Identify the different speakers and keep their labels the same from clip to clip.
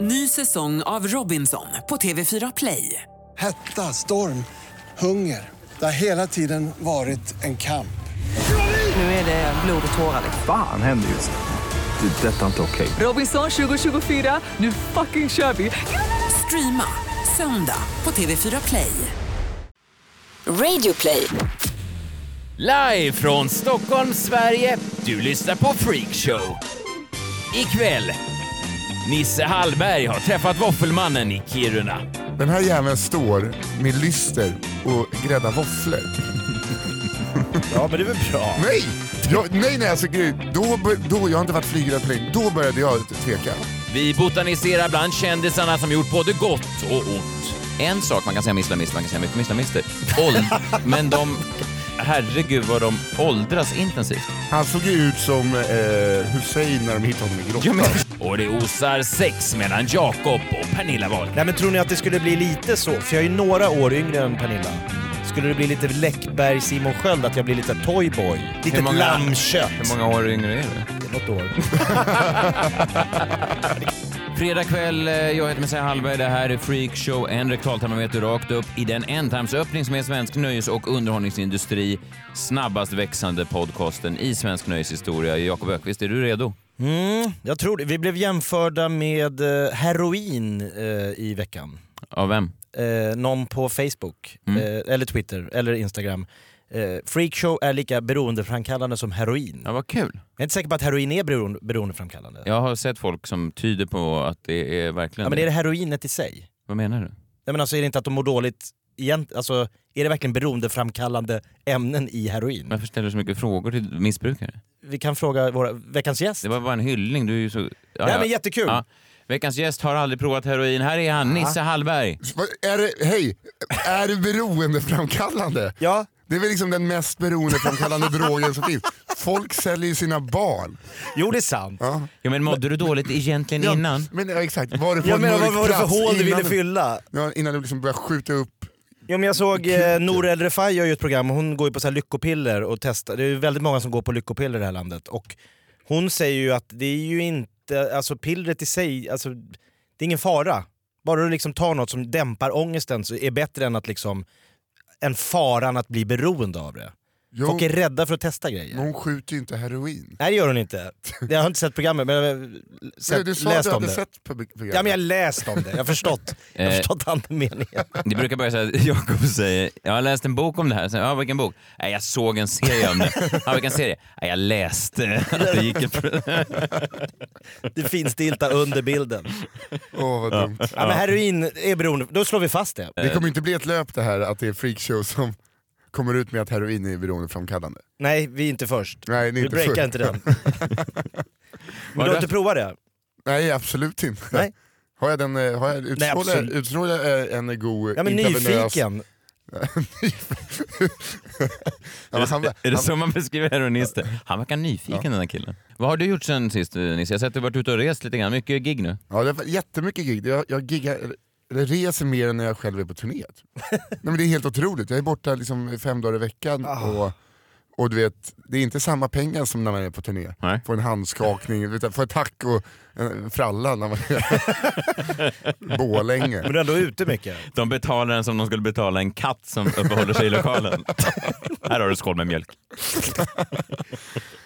Speaker 1: Ny säsong av Robinson på TV4 Play.
Speaker 2: Hetta, storm, hunger. Det har hela tiden varit en kamp.
Speaker 1: Nu är det blod och tårar. liksom.
Speaker 3: Fan händer just nu. Det. är Detta är inte okej.
Speaker 1: Robinson 2024, nu fucking kör vi! Streama söndag på TV4 Play.
Speaker 4: Radioplay.
Speaker 5: Live från Stockholm, Sverige. Du lyssnar på Freakshow. Ikväll. Nisse Hallberg har träffat Våffelmannen i Kiruna.
Speaker 6: Den här jäveln står med lyster och gräddar våfflor.
Speaker 7: Ja, men det är väl bra.
Speaker 6: Nej! Jag, nej, nej, alltså grej, då, bör- då, jag har inte varit flygrädd på länge. Då började jag tveka.
Speaker 5: Vi botaniserar bland kändisarna som gjort både gott och ont. En sak man kan säga om islamister, man kan säga mycket om islamister. Åld- men de... Herregud vad de åldras intensivt.
Speaker 6: Han såg ju ut som eh, Hussein när de hittade honom i grottan.
Speaker 5: Och det osar sex mellan Jakob och Pernilla Wahlgren.
Speaker 7: Nej, men tror ni att det skulle bli lite så? För jag är ju några år yngre än Pernilla. Skulle det bli lite Läckberg, Simon Sköld, att jag blir lite toyboy? Lite
Speaker 5: många-
Speaker 7: lammkött?
Speaker 5: många år yngre är du?
Speaker 7: Något år.
Speaker 5: Fredag kväll, eh, jag heter Messiah Hallberg, det här är Freakshow, en rektaltermometer rakt upp i den ändtarmsöppning som är svensk nöjes och underhållningsindustri, snabbast växande podcasten i svensk nöjeshistoria. Jakob Ökvist, är du redo?
Speaker 7: Mm, jag tror det. Vi blev jämförda med eh, heroin eh, i veckan.
Speaker 5: Av vem?
Speaker 7: Eh, någon på Facebook,
Speaker 5: Mm.
Speaker 7: eh, eller Twitter, eller Instagram. Eh, freakshow är lika beroendeframkallande som heroin.
Speaker 5: Ja, vad kul.
Speaker 7: Jag är inte säker på att heroin är beroende, beroendeframkallande.
Speaker 5: Jag har sett folk som tyder på att det är verkligen
Speaker 7: Ja, men är det heroinet i sig?
Speaker 5: Vad menar du?
Speaker 7: Nej, men alltså, är det inte att de mår dåligt egent... alltså, Är det verkligen beroendeframkallande ämnen i heroin?
Speaker 5: Varför ställer du så mycket frågor till missbrukare?
Speaker 7: Vi kan fråga våra veckans gäst.
Speaker 5: Det var bara en hyllning, du är ju så... Ja,
Speaker 7: Nej,
Speaker 5: ja.
Speaker 7: men jättekul!
Speaker 5: Ja. Veckans gäst har aldrig provat heroin. Här är han, Nisse Hallberg.
Speaker 6: Vad Är det, hej, är det beroendeframkallande?
Speaker 7: Ja.
Speaker 6: Det är väl liksom den mest beroendeframkallande drogen som finns. Folk säljer ju sina barn.
Speaker 7: Jo, det är sant.
Speaker 5: Ja, men mådde du dåligt egentligen
Speaker 6: Ja,
Speaker 5: innan?
Speaker 6: Men, ja, exakt. Var det på
Speaker 7: Jag
Speaker 6: en
Speaker 7: menar, vad
Speaker 6: mörk
Speaker 7: var det för
Speaker 6: plats
Speaker 7: hål du ville
Speaker 6: innan-
Speaker 7: fylla?
Speaker 6: Ja, innan du liksom började skjuta upp.
Speaker 7: Jo, men jag såg eh, Nour El Refai gör ju ett program, hon går ju på så här lyckopiller och testar. Det är ju väldigt många som går på lyckopiller i det här landet. Och hon säger ju att det är ju inte, alltså pillret i sig, alltså, det är ingen fara. Bara du liksom tar något som dämpar ångesten så är det bättre än att liksom, än faran att bli beroende av det.
Speaker 6: Jo,
Speaker 7: Folk är rädda för att testa grejer.
Speaker 6: men hon skjuter ju inte heroin.
Speaker 7: Nej det gör hon inte. Jag har inte sett programmet men jag har sett,
Speaker 6: du sa att
Speaker 7: läst
Speaker 6: du
Speaker 7: om
Speaker 6: hade
Speaker 7: det.
Speaker 6: sett på programmet.
Speaker 7: Ja men jag har läst om det, jag har förstått. Jag har
Speaker 5: Eh.
Speaker 7: förstått andemeningen.
Speaker 5: Det brukar bara säga, Jakob säger, jag har läst en bok om det här. Så, ja, vilken bok? Nej, jag såg en serie om det. Ja, vilken serie? Nej, jag läste att det gick en...
Speaker 7: Det finstilta under bilden.
Speaker 6: Åh, vad dumt.
Speaker 7: Ja, men heroin är beroende, då slår vi fast det.
Speaker 5: Eh.
Speaker 6: Det kommer inte bli ett löp det här att det är freakshow som kommer ut med att heroin är beroendeframkallande.
Speaker 7: Nej, vi är inte först.
Speaker 6: Nej, ni är
Speaker 7: Vi
Speaker 6: inte
Speaker 7: breakar
Speaker 6: först.
Speaker 7: inte den. Men du har inte provat det?
Speaker 6: Nej absolut inte.
Speaker 7: Nej.
Speaker 6: Har jag, den, eh, har jag, utstrålar,
Speaker 7: absolut.
Speaker 6: utstrålar jag eh, en god
Speaker 7: Ja men
Speaker 6: intravenös-
Speaker 7: nyfiken.
Speaker 6: Ja, men han,
Speaker 5: Är det
Speaker 6: han,
Speaker 5: så man beskriver heroinister? Han verkar nyfiken den här killen. Vad har du gjort sen sist eh, Nisse? Jag har sett att du varit ute och rest lite grann. Mycket gig nu.
Speaker 6: ja, det har varit jättemycket gig. Jag, jag giggar, eller- eller reser mer än när jag själv är på turné. Nej, men det är helt otroligt. Jag är borta liksom fem dagar i veckan.
Speaker 7: Ah.
Speaker 6: Och, och du vet, det är inte samma pengar som när man är på turné.
Speaker 5: Nej.
Speaker 6: Får en handskakning, utan får ett tack och en fralla när man är Borlänge.
Speaker 7: Men du är ändå ute mycket.
Speaker 5: De betalar den som de skulle betala en katt som uppehåller sig i lokalen. här har du skål med mjölk.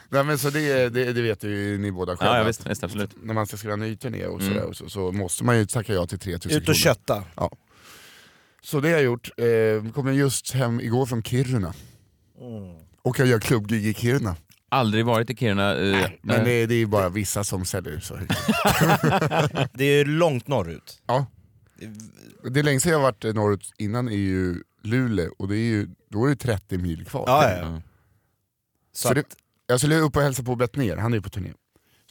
Speaker 6: Nej, men så det, det, det vet ju ni båda själva.
Speaker 5: Ja, ja visst, Mm. visst absolut.
Speaker 6: När man ska skriva en ny turné och sådär, och så, så måste man ju tacka ja till 3000
Speaker 7: Ut och
Speaker 6: kronor.
Speaker 7: kötta.
Speaker 6: Ja. Så det har jag gjort. Eh, kom just hem igår från Kiruna. Och jag gör klubbgig i Kiruna.
Speaker 5: Aldrig varit i Kiruna. eh,
Speaker 6: Men
Speaker 5: nej.
Speaker 6: det, det är ju bara vissa som säljer ut så. högt.
Speaker 7: Det är ju långt norrut.
Speaker 6: Ja. Det längsta jag har varit norrut innan är ju Luleå och det är ju, då är det 30 mil kvar.
Speaker 7: Ja, ja, ja. Så
Speaker 6: För
Speaker 7: att,
Speaker 6: det, jag skulle upp och hälsa på Bettner, han är ju på turné.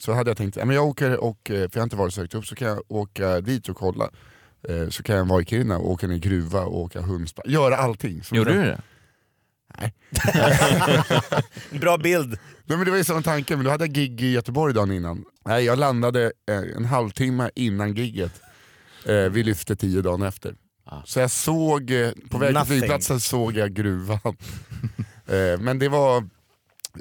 Speaker 6: Så hade jag tänkt, ja, men jag åker och, eh, för jag har inte varit och sökt upp, så kan jag åka dit och kolla. Eh, Så kan jag vara i Kiruna och åka ner i gruva och åka hundspår. Göra allting. Som
Speaker 5: Gjorde du det?
Speaker 7: bra bild.
Speaker 6: Nej, men det var ju samma tanke, men då hade jag gig i Göteborg dagen innan. Nej, jag landade eh, en halvtimme innan gigget. Eh, Vi lyfte tio dagen efter. Så jag såg, eh, på väg till
Speaker 7: Nothing.
Speaker 6: flygplatsen såg jag gruvan. Eh, Men det var,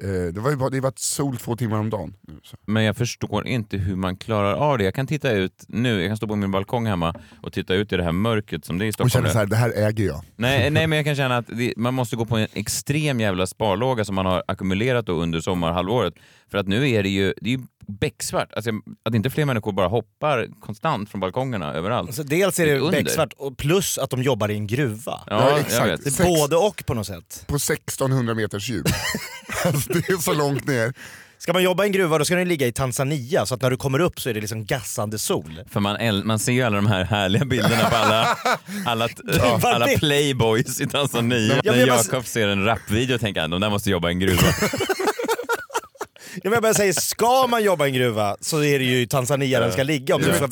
Speaker 6: Eh, Det, var ju bara, det har varit sol två timmar om dagen. nu, Så.
Speaker 5: Men jag förstår inte hur man klarar av det. Jag kan titta ut nu, jag kan stå på min balkong hemma och titta ut i det här mörkret som det är i
Speaker 6: Och
Speaker 5: Stockholm.
Speaker 6: känner
Speaker 5: nu.
Speaker 6: så här, det här äger jag.
Speaker 5: Nej, nej, men jag kan känna att det, man måste gå på en extrem jävla sparlåga som man har ackumulerat då under sommarhalvåret. För att nu är det ju, det är ju becksvart. Alltså, att inte fler människor bara hoppar konstant från balkongerna överallt.
Speaker 7: Så dels är
Speaker 5: Ett
Speaker 7: det
Speaker 5: under.
Speaker 7: becksvart, och plus att de jobbar i en gruva.
Speaker 5: Ja,
Speaker 6: Ja,
Speaker 5: jag
Speaker 6: exakt.
Speaker 5: vet.
Speaker 7: Det är
Speaker 6: Sex-
Speaker 7: både och på något sätt.
Speaker 6: På 1600 meters djup. alltså, det är så långt ner.
Speaker 7: Ska man jobba i en gruva då ska den ligga i Tanzania, så att när du kommer upp så är det liksom gassande sol.
Speaker 5: För man, äl- man ser ju alla de här härliga bilderna på alla, alla, t-
Speaker 7: vad
Speaker 5: alla
Speaker 7: det-
Speaker 5: playboys i Tanzania.
Speaker 7: Ja, men
Speaker 5: När
Speaker 7: jag bara-
Speaker 5: Jakob ser en rapvideo tänker han de där måste jobba i en gruva.
Speaker 7: Ja, men jag bara säger, ska man jobba i en gruva så är det ju i Tanzania den ska ligga. Om du ska,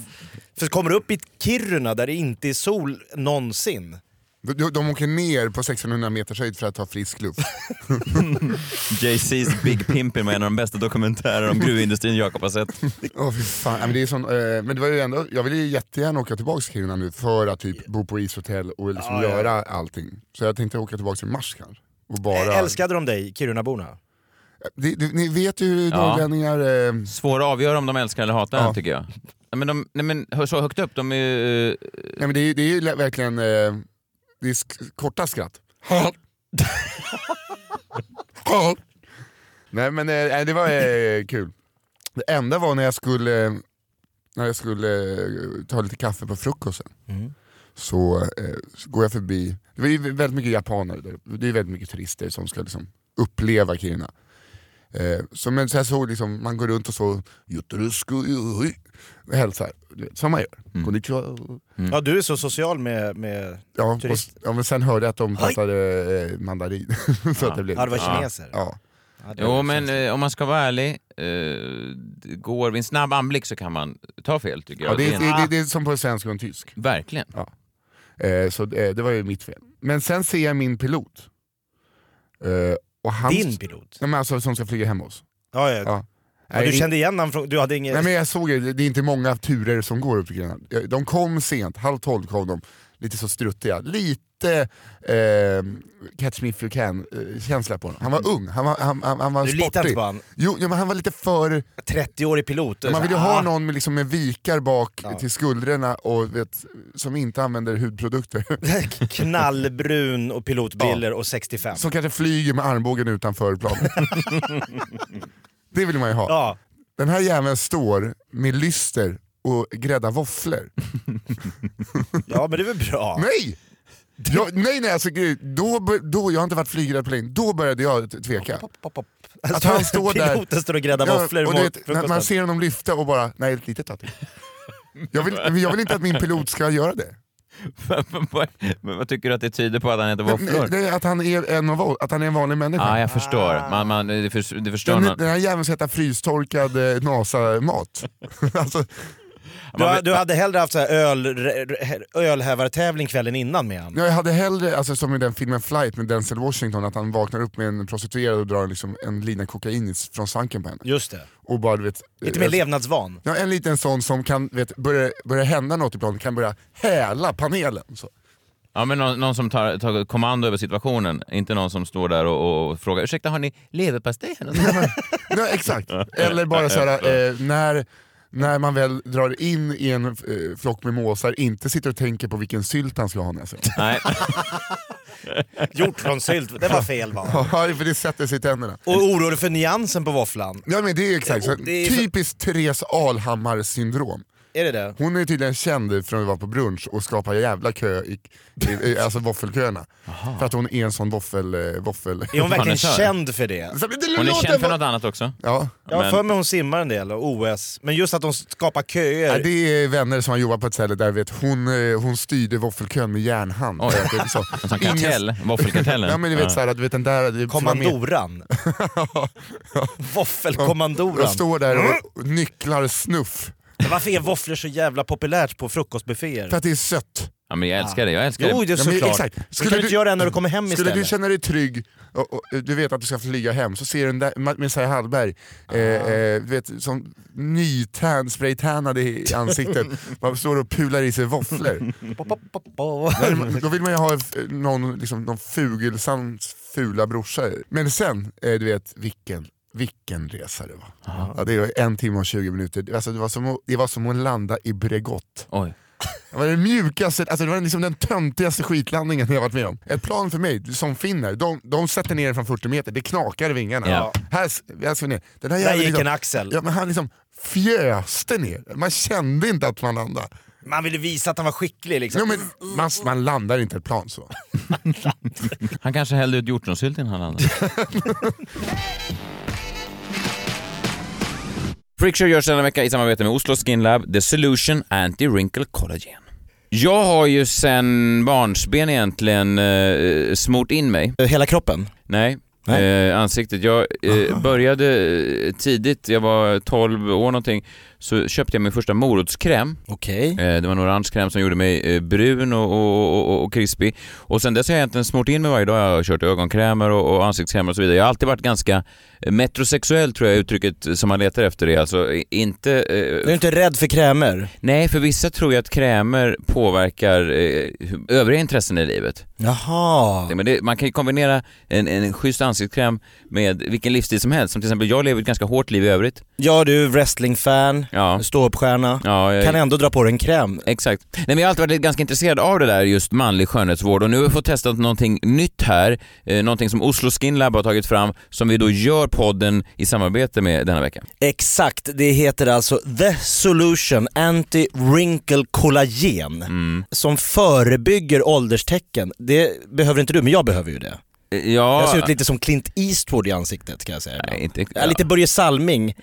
Speaker 7: för kommer du upp i Kiruna där det inte är sol någonsin.
Speaker 6: De, de åker ner på 1600 meters höjd för att ta frisk luft.
Speaker 5: JC's Big Pimpin var en av de bästa dokumentärer om gruvindustrin Jakob har sett.
Speaker 6: Åh, fy fan. Ja, Men, det är sån, eh, men det var ju ändå, jag ville ju jättegärna åka tillbaka till Kiruna nu för att typ bo på ishotell och liksom göra allting. Så jag tänkte åka tillbaka till mars kanske. Och bara,
Speaker 7: Eh, Älskade de dig, Kirunaborna?
Speaker 6: det, det, ni vet ju hur
Speaker 5: Ja.
Speaker 6: norrlänningar... Eh,
Speaker 5: Svår att avgöra om de älskar eller hatar
Speaker 6: Ja.
Speaker 5: den tycker jag. Nej, men, de, nej, men hö- så högt upp, de är ju... eh,
Speaker 6: nej, men det, är ju- det är ju lä- verkligen eh, det är sk- korta skratt. nej men eh, nej, det var eh, kul. Det enda var när jag skulle, eh, när jag skulle eh, ta lite kaffe på frukosten. så, eh, så går jag förbi, det är ju väldigt mycket japaner, där. det är väldigt mycket turister som ska liksom uppleva Kiruna. Eh, så, men så jag såg liksom, man går runt och så, "Yotoroshiku, yuhui", och hälsar, Du vet, som man gör. Konnichiwa. Mm.
Speaker 7: Ja, du är så social med... med
Speaker 6: Ja, och,
Speaker 7: Turist.
Speaker 6: ja, men sen hörde jag att de
Speaker 7: Hej.
Speaker 6: pratade eh, mandarin. så att det blev,
Speaker 7: ja, det var
Speaker 5: Ja.
Speaker 7: kineser.
Speaker 6: Ah. ja.
Speaker 7: Ja, det var
Speaker 5: Jo, men
Speaker 7: kineser.
Speaker 5: eh, om man ska vara ärlig, eh, det går vid en snabb anblick så kan man ta fel tycker jag.
Speaker 6: Ja, det,
Speaker 5: Det
Speaker 6: är,
Speaker 5: är
Speaker 6: det, är- det är som på en svensk och en tysk.
Speaker 5: en- Verkligen.
Speaker 6: Eh, så det, det var ju mitt fel. Men sen ser jag min pilot. Eh, och han,
Speaker 7: Din pilot?
Speaker 6: Nej, men alltså, som ska flyga hem oss.
Speaker 7: Ja, ja.
Speaker 6: Ja.
Speaker 7: Och du
Speaker 6: Nej,
Speaker 7: kände igen honom från... Du hade inget...
Speaker 6: Nej, men jag såg ju, det- det är inte många turer som går upp till Grönland. Eh, De kom sent, halv tolv kom de, lite så struttiga. Lite eh, catch me if you can eh, känsla på honom. Han var ung, han var, han, han, han var
Speaker 7: Du litar
Speaker 6: sportig.
Speaker 7: inte på han?
Speaker 6: Jo, ja, men han var lite för...
Speaker 7: 30-årig pilot.
Speaker 6: Man vill ju ha
Speaker 7: Ah.
Speaker 6: någon med, liksom, med vikar bak till skuldrorna och vet, som inte använder hudprodukter.
Speaker 7: Knallbrun och pilotbriller och 65.
Speaker 6: som kanske flyger med armbågen utanför planet. det vill man ju ha.
Speaker 7: Ja.
Speaker 6: Den här jäveln står med lyster och grädda våfflor.
Speaker 7: ja, men det är väl bra?
Speaker 6: Nej! Jag, nej, nej, alltså, gud, då, bör- då, jag har inte varit flygrädd på länge. Då började jag t- tveka.
Speaker 7: Pop, pop.
Speaker 6: Att han står där-
Speaker 7: Piloten står och gräddar
Speaker 6: Ja,
Speaker 7: våfflor
Speaker 6: och
Speaker 7: mot
Speaker 6: du vet, när man
Speaker 7: frukosten.
Speaker 6: ser honom lyfta och bara, nej, ett litet tag till. jag vill, jag vill inte att min pilot ska göra det.
Speaker 5: Men vad tycker du att det tyder på att han heter
Speaker 6: Nej,
Speaker 5: våfflor?
Speaker 6: det är att, han är en av, oss, att han är en vanlig människa.
Speaker 5: Ja, jag förstår. Man, man, det, för, det förstör
Speaker 6: den,
Speaker 5: man.
Speaker 6: den här jäveln ska äta frystorkad eh, NASA-mat. alltså,
Speaker 5: man
Speaker 7: Du,
Speaker 5: vill-
Speaker 7: du hade hellre haft så här öl, re- ölhävartävling kvällen innan med honom.
Speaker 6: jag hade hellre, alltså, som i den filmen Flight med Denzel Washington, att han vaknar upp med en prostituerad och drar liksom, en lina kokain i- från svanken på henne.
Speaker 7: Just det.
Speaker 6: Och bara, du vet, eh,
Speaker 7: Lite mer levnadsvan.
Speaker 6: Ja, en liten sån som kan vet, börja, börja hända något i planet, kan börja häla panelen. Så.
Speaker 5: Ja, men någon, någon som tar, tar kommando över situationen, inte någon som står där och, och frågar ursäkta har ni leverpastej? här någonstans?"
Speaker 6: Ja, exakt. Eller bara så här, eh, när, när man väl drar in i en eh, flock med måsar, inte sitter och tänker på vilken sylt han ska ha när sig.
Speaker 5: Nej,
Speaker 7: Hjortronsylt, det var fel va?
Speaker 6: Ja, för det sätter sig i tänderna.
Speaker 7: Och orolig för nyansen på våfflan.
Speaker 6: Ja, men det är exakt så.
Speaker 7: Och det är så-
Speaker 6: Typiskt Therese Alhammar syndrom.
Speaker 7: Är det det?
Speaker 6: Hon är tydligen känd från att vara på brunch och skapa jävla kö i, i, i alltså våffelköerna. För att hon är en sån våffel... eh, våffel.
Speaker 7: Är hon
Speaker 5: Fan,
Speaker 7: verkligen
Speaker 5: det kör.
Speaker 7: känd för det?
Speaker 6: Så, men det
Speaker 5: hon är
Speaker 6: låter
Speaker 5: känd för
Speaker 6: bara-
Speaker 5: något annat också.
Speaker 6: Ja.
Speaker 7: Jag har
Speaker 5: Men-
Speaker 7: för mig hon simmar en del och OS. Men just att de skapar köer.
Speaker 6: Ja, det är vänner som har jobbat på ett ställe där vet, hon, eh, hon styrde våffelkön med järnhand.
Speaker 5: Oj.
Speaker 6: Det är så.
Speaker 5: En sån kartell, våffelkartellen.
Speaker 6: Ja, men du vet, så här, att, du vet den där... eh, Du,
Speaker 7: Kommandoran.
Speaker 6: Jag
Speaker 7: Våffelkommandoran.
Speaker 6: står där och
Speaker 5: Mm.
Speaker 6: och nycklar snuff.
Speaker 7: Varför är våfflor så jävla populärt på frukostbufféer?
Speaker 6: För att det är sött.
Speaker 5: Ja, men jag älskar det. Jag älskar
Speaker 7: Jo,
Speaker 5: det.
Speaker 7: det är
Speaker 6: Ja, men
Speaker 7: såklart.
Speaker 6: exakt.
Speaker 7: Skulle kan du inte göra det när du kommer hem
Speaker 6: skulle
Speaker 7: istället?
Speaker 6: du känna dig trygg och, och du vet att du ska flyga hem, så ser du den där Ma- Messiah Hallberg,
Speaker 7: Ah.
Speaker 6: eh, eh, du vet, som nytän, spraytänad i i ansiktet, bara står och pular i sig våfflor.
Speaker 7: Pop, pop, pop, pop.
Speaker 6: Då vill man ju ha eh, någon, liksom, någon fugelsands fula brorsa. Men sen, eh, du vet, vilken, vilken resa det var.
Speaker 7: Ah.
Speaker 6: Ja, det var en timme och 20 minuter. Alltså, det, var som att, det var som att landa i Bregott.
Speaker 5: Oj.
Speaker 6: Det var den mjukaste, alltså det var liksom den töntigaste skitlandningen jag varit med om. Ett plan för mig, som finner, de, de sätter ner den från 40 meter, det knakar i vingarna.
Speaker 5: Ja.
Speaker 6: Här, s- här ska vi ner. Den här
Speaker 7: Där
Speaker 6: jäveln
Speaker 7: gick
Speaker 6: liksom,
Speaker 7: en axel.
Speaker 6: Ja, men han liksom fjöste ner, man kände inte att man landade.
Speaker 7: Man ville visa att han var skicklig liksom.
Speaker 6: Jo, men, man, man landar inte ett plan så.
Speaker 5: Han kanske hällde ut hjortronsylt innan han landade. Freakshow görs denna vecka i samarbete med Oslo Skinlab, The Solution Anti Wrinkle Collagen. Jag har ju sen barnsben egentligen eh, smort in mig.
Speaker 7: Hela kroppen?
Speaker 5: Nej.
Speaker 7: Nej.
Speaker 5: Eh, ansiktet. Jag eh, började eh, tidigt, jag var 12 år någonting, så köpte jag min första morotskräm.
Speaker 7: Okej.
Speaker 5: Eh, Det var en orange kräm som gjorde mig eh, brun och, och, och- och, och krispig. Och sen dess har jag egentligen smort in mig varje dag. Jag har kört ögonkrämer och, och ansiktskrämer och så vidare. Jag har alltid varit ganska eh, metrosexuell tror jag uttrycket som man letar efter är. Alltså i- inte... eh,
Speaker 7: Du är inte rädd för krämer?
Speaker 5: Nej, för vissa tror jag att krämer påverkar eh, hu- övriga intressen i livet.
Speaker 7: Jaha.
Speaker 5: Men det, man kan ju kombinera en, en schysst ansiktskräm med vilken livsstil som helst. Som till exempel, jag lever ett ganska hårt liv i övrigt.
Speaker 7: Ja du, wrestlingfan,
Speaker 5: Ja.
Speaker 7: ståuppstjärna.
Speaker 5: Ja, jag,
Speaker 7: Kan ändå dra på dig en kräm.
Speaker 5: Exakt. Nej, men jag har alltid varit ganska intresserad av det där just manlig skönhetsvård och nu har vi fått testat någonting nytt här, eh, någonting som Oslo Skin Lab har tagit fram som vi då gör podden i samarbete med denna vecka.
Speaker 7: Exakt, det heter alltså The Solution Anti Wrinkle Collagen.
Speaker 6: Mm.
Speaker 7: Som förebygger ålderstecken. Det behöver inte du, men jag behöver ju det.
Speaker 5: Eh, Ja...
Speaker 7: Jag ser ut lite som Clint Eastwood i ansiktet kan jag säga.
Speaker 5: Nej, inte,
Speaker 7: Ja. Lite Börje Salming.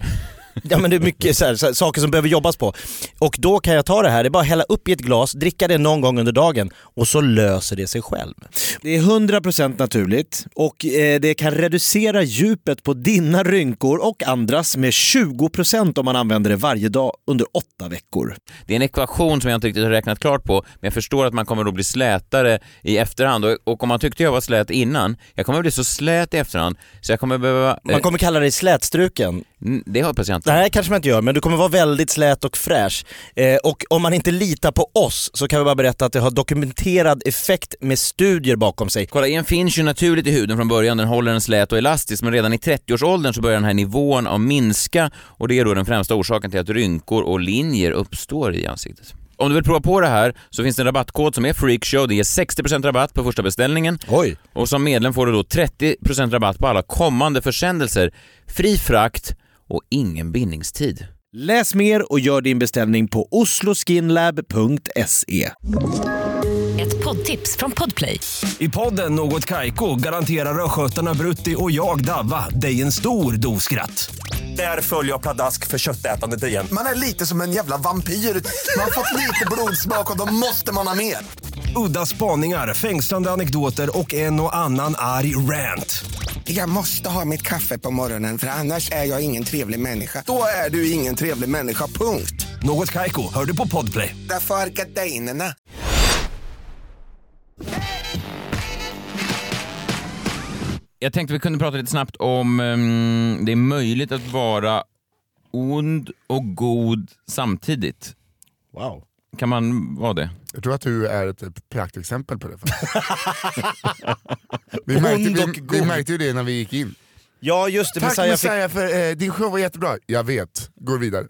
Speaker 7: Ja men det är mycket så här, så här, saker som behöver jobbas på. Och då kan jag ta det här, det är bara att hälla upp i ett glas, dricka det någon gång under dagen och så löser det sig själv. Det är 100% naturligt och eh, det kan reducera djupet på dina rynkor och andras med 20% om man använder det varje dag under 8 veckor.
Speaker 5: Det är en ekvation som jag inte riktigt har räknat klart på, men jag förstår att man kommer att bli slätare i efterhand och, och om man tyckte jag var slät innan, jag kommer att bli så slät i efterhand så jag kommer behöva... eh,
Speaker 7: Man kommer kalla dig slätstruken.
Speaker 5: n- det hoppas jag inte.
Speaker 7: Nej, kanske man inte gör, men du kommer vara väldigt slät och fräsch. Eh, och om man inte litar på oss så kan vi bara berätta att det har dokumenterad effekt med studier bakom sig.
Speaker 5: Kollagen finns ju naturligt i huden från början, den håller den slät och elastisk men redan i 30-årsåldern så börjar den här nivån att minska och det är då den främsta orsaken till att rynkor och linjer uppstår i ansiktet. Om du vill prova på det här så finns det en rabattkod som är freakshow, det ger 60% rabatt på första beställningen
Speaker 7: Oj!
Speaker 5: och som medlem får du då 30% rabatt på alla kommande försändelser, fri frakt och ingen bindningstid.
Speaker 7: Läs mer och gör din beställning på osloskinlab.se.
Speaker 4: Ett poddtips från Podplay.
Speaker 8: I podden Något Kaiko garanterar östgötarna Brutti och jag, Davva, dig en stor dos skratt. Där följer jag pladask för köttätandet igen.
Speaker 9: Man är lite som en jävla vampyr. Man har fått lite blodsmak och då måste man ha mer.
Speaker 8: Udda spaningar, fängslande anekdoter och en och annan arg rant.
Speaker 10: Jag måste ha mitt kaffe på morgonen för annars är jag ingen trevlig människa.
Speaker 9: Då är du ingen trevlig människa, punkt.
Speaker 8: Något Kaiko, hör du på Podplay.
Speaker 10: Därför är gardinerna.
Speaker 5: Jag tänkte vi kunde prata lite snabbt om ehm, det är möjligt att vara ond och god samtidigt.
Speaker 7: Wow.
Speaker 5: Kan man vara det?
Speaker 6: Jag tror att du är ett praktexempel på det. faktiskt. vi,
Speaker 7: Ond
Speaker 6: märkte,
Speaker 7: och
Speaker 6: vi, vi
Speaker 7: god.
Speaker 6: märkte ju det när vi gick in.
Speaker 7: Ja just det,
Speaker 6: Tack
Speaker 7: Messiah
Speaker 6: Messiah
Speaker 7: fick...
Speaker 6: för eh, din show var jättebra. Jag vet, går vidare.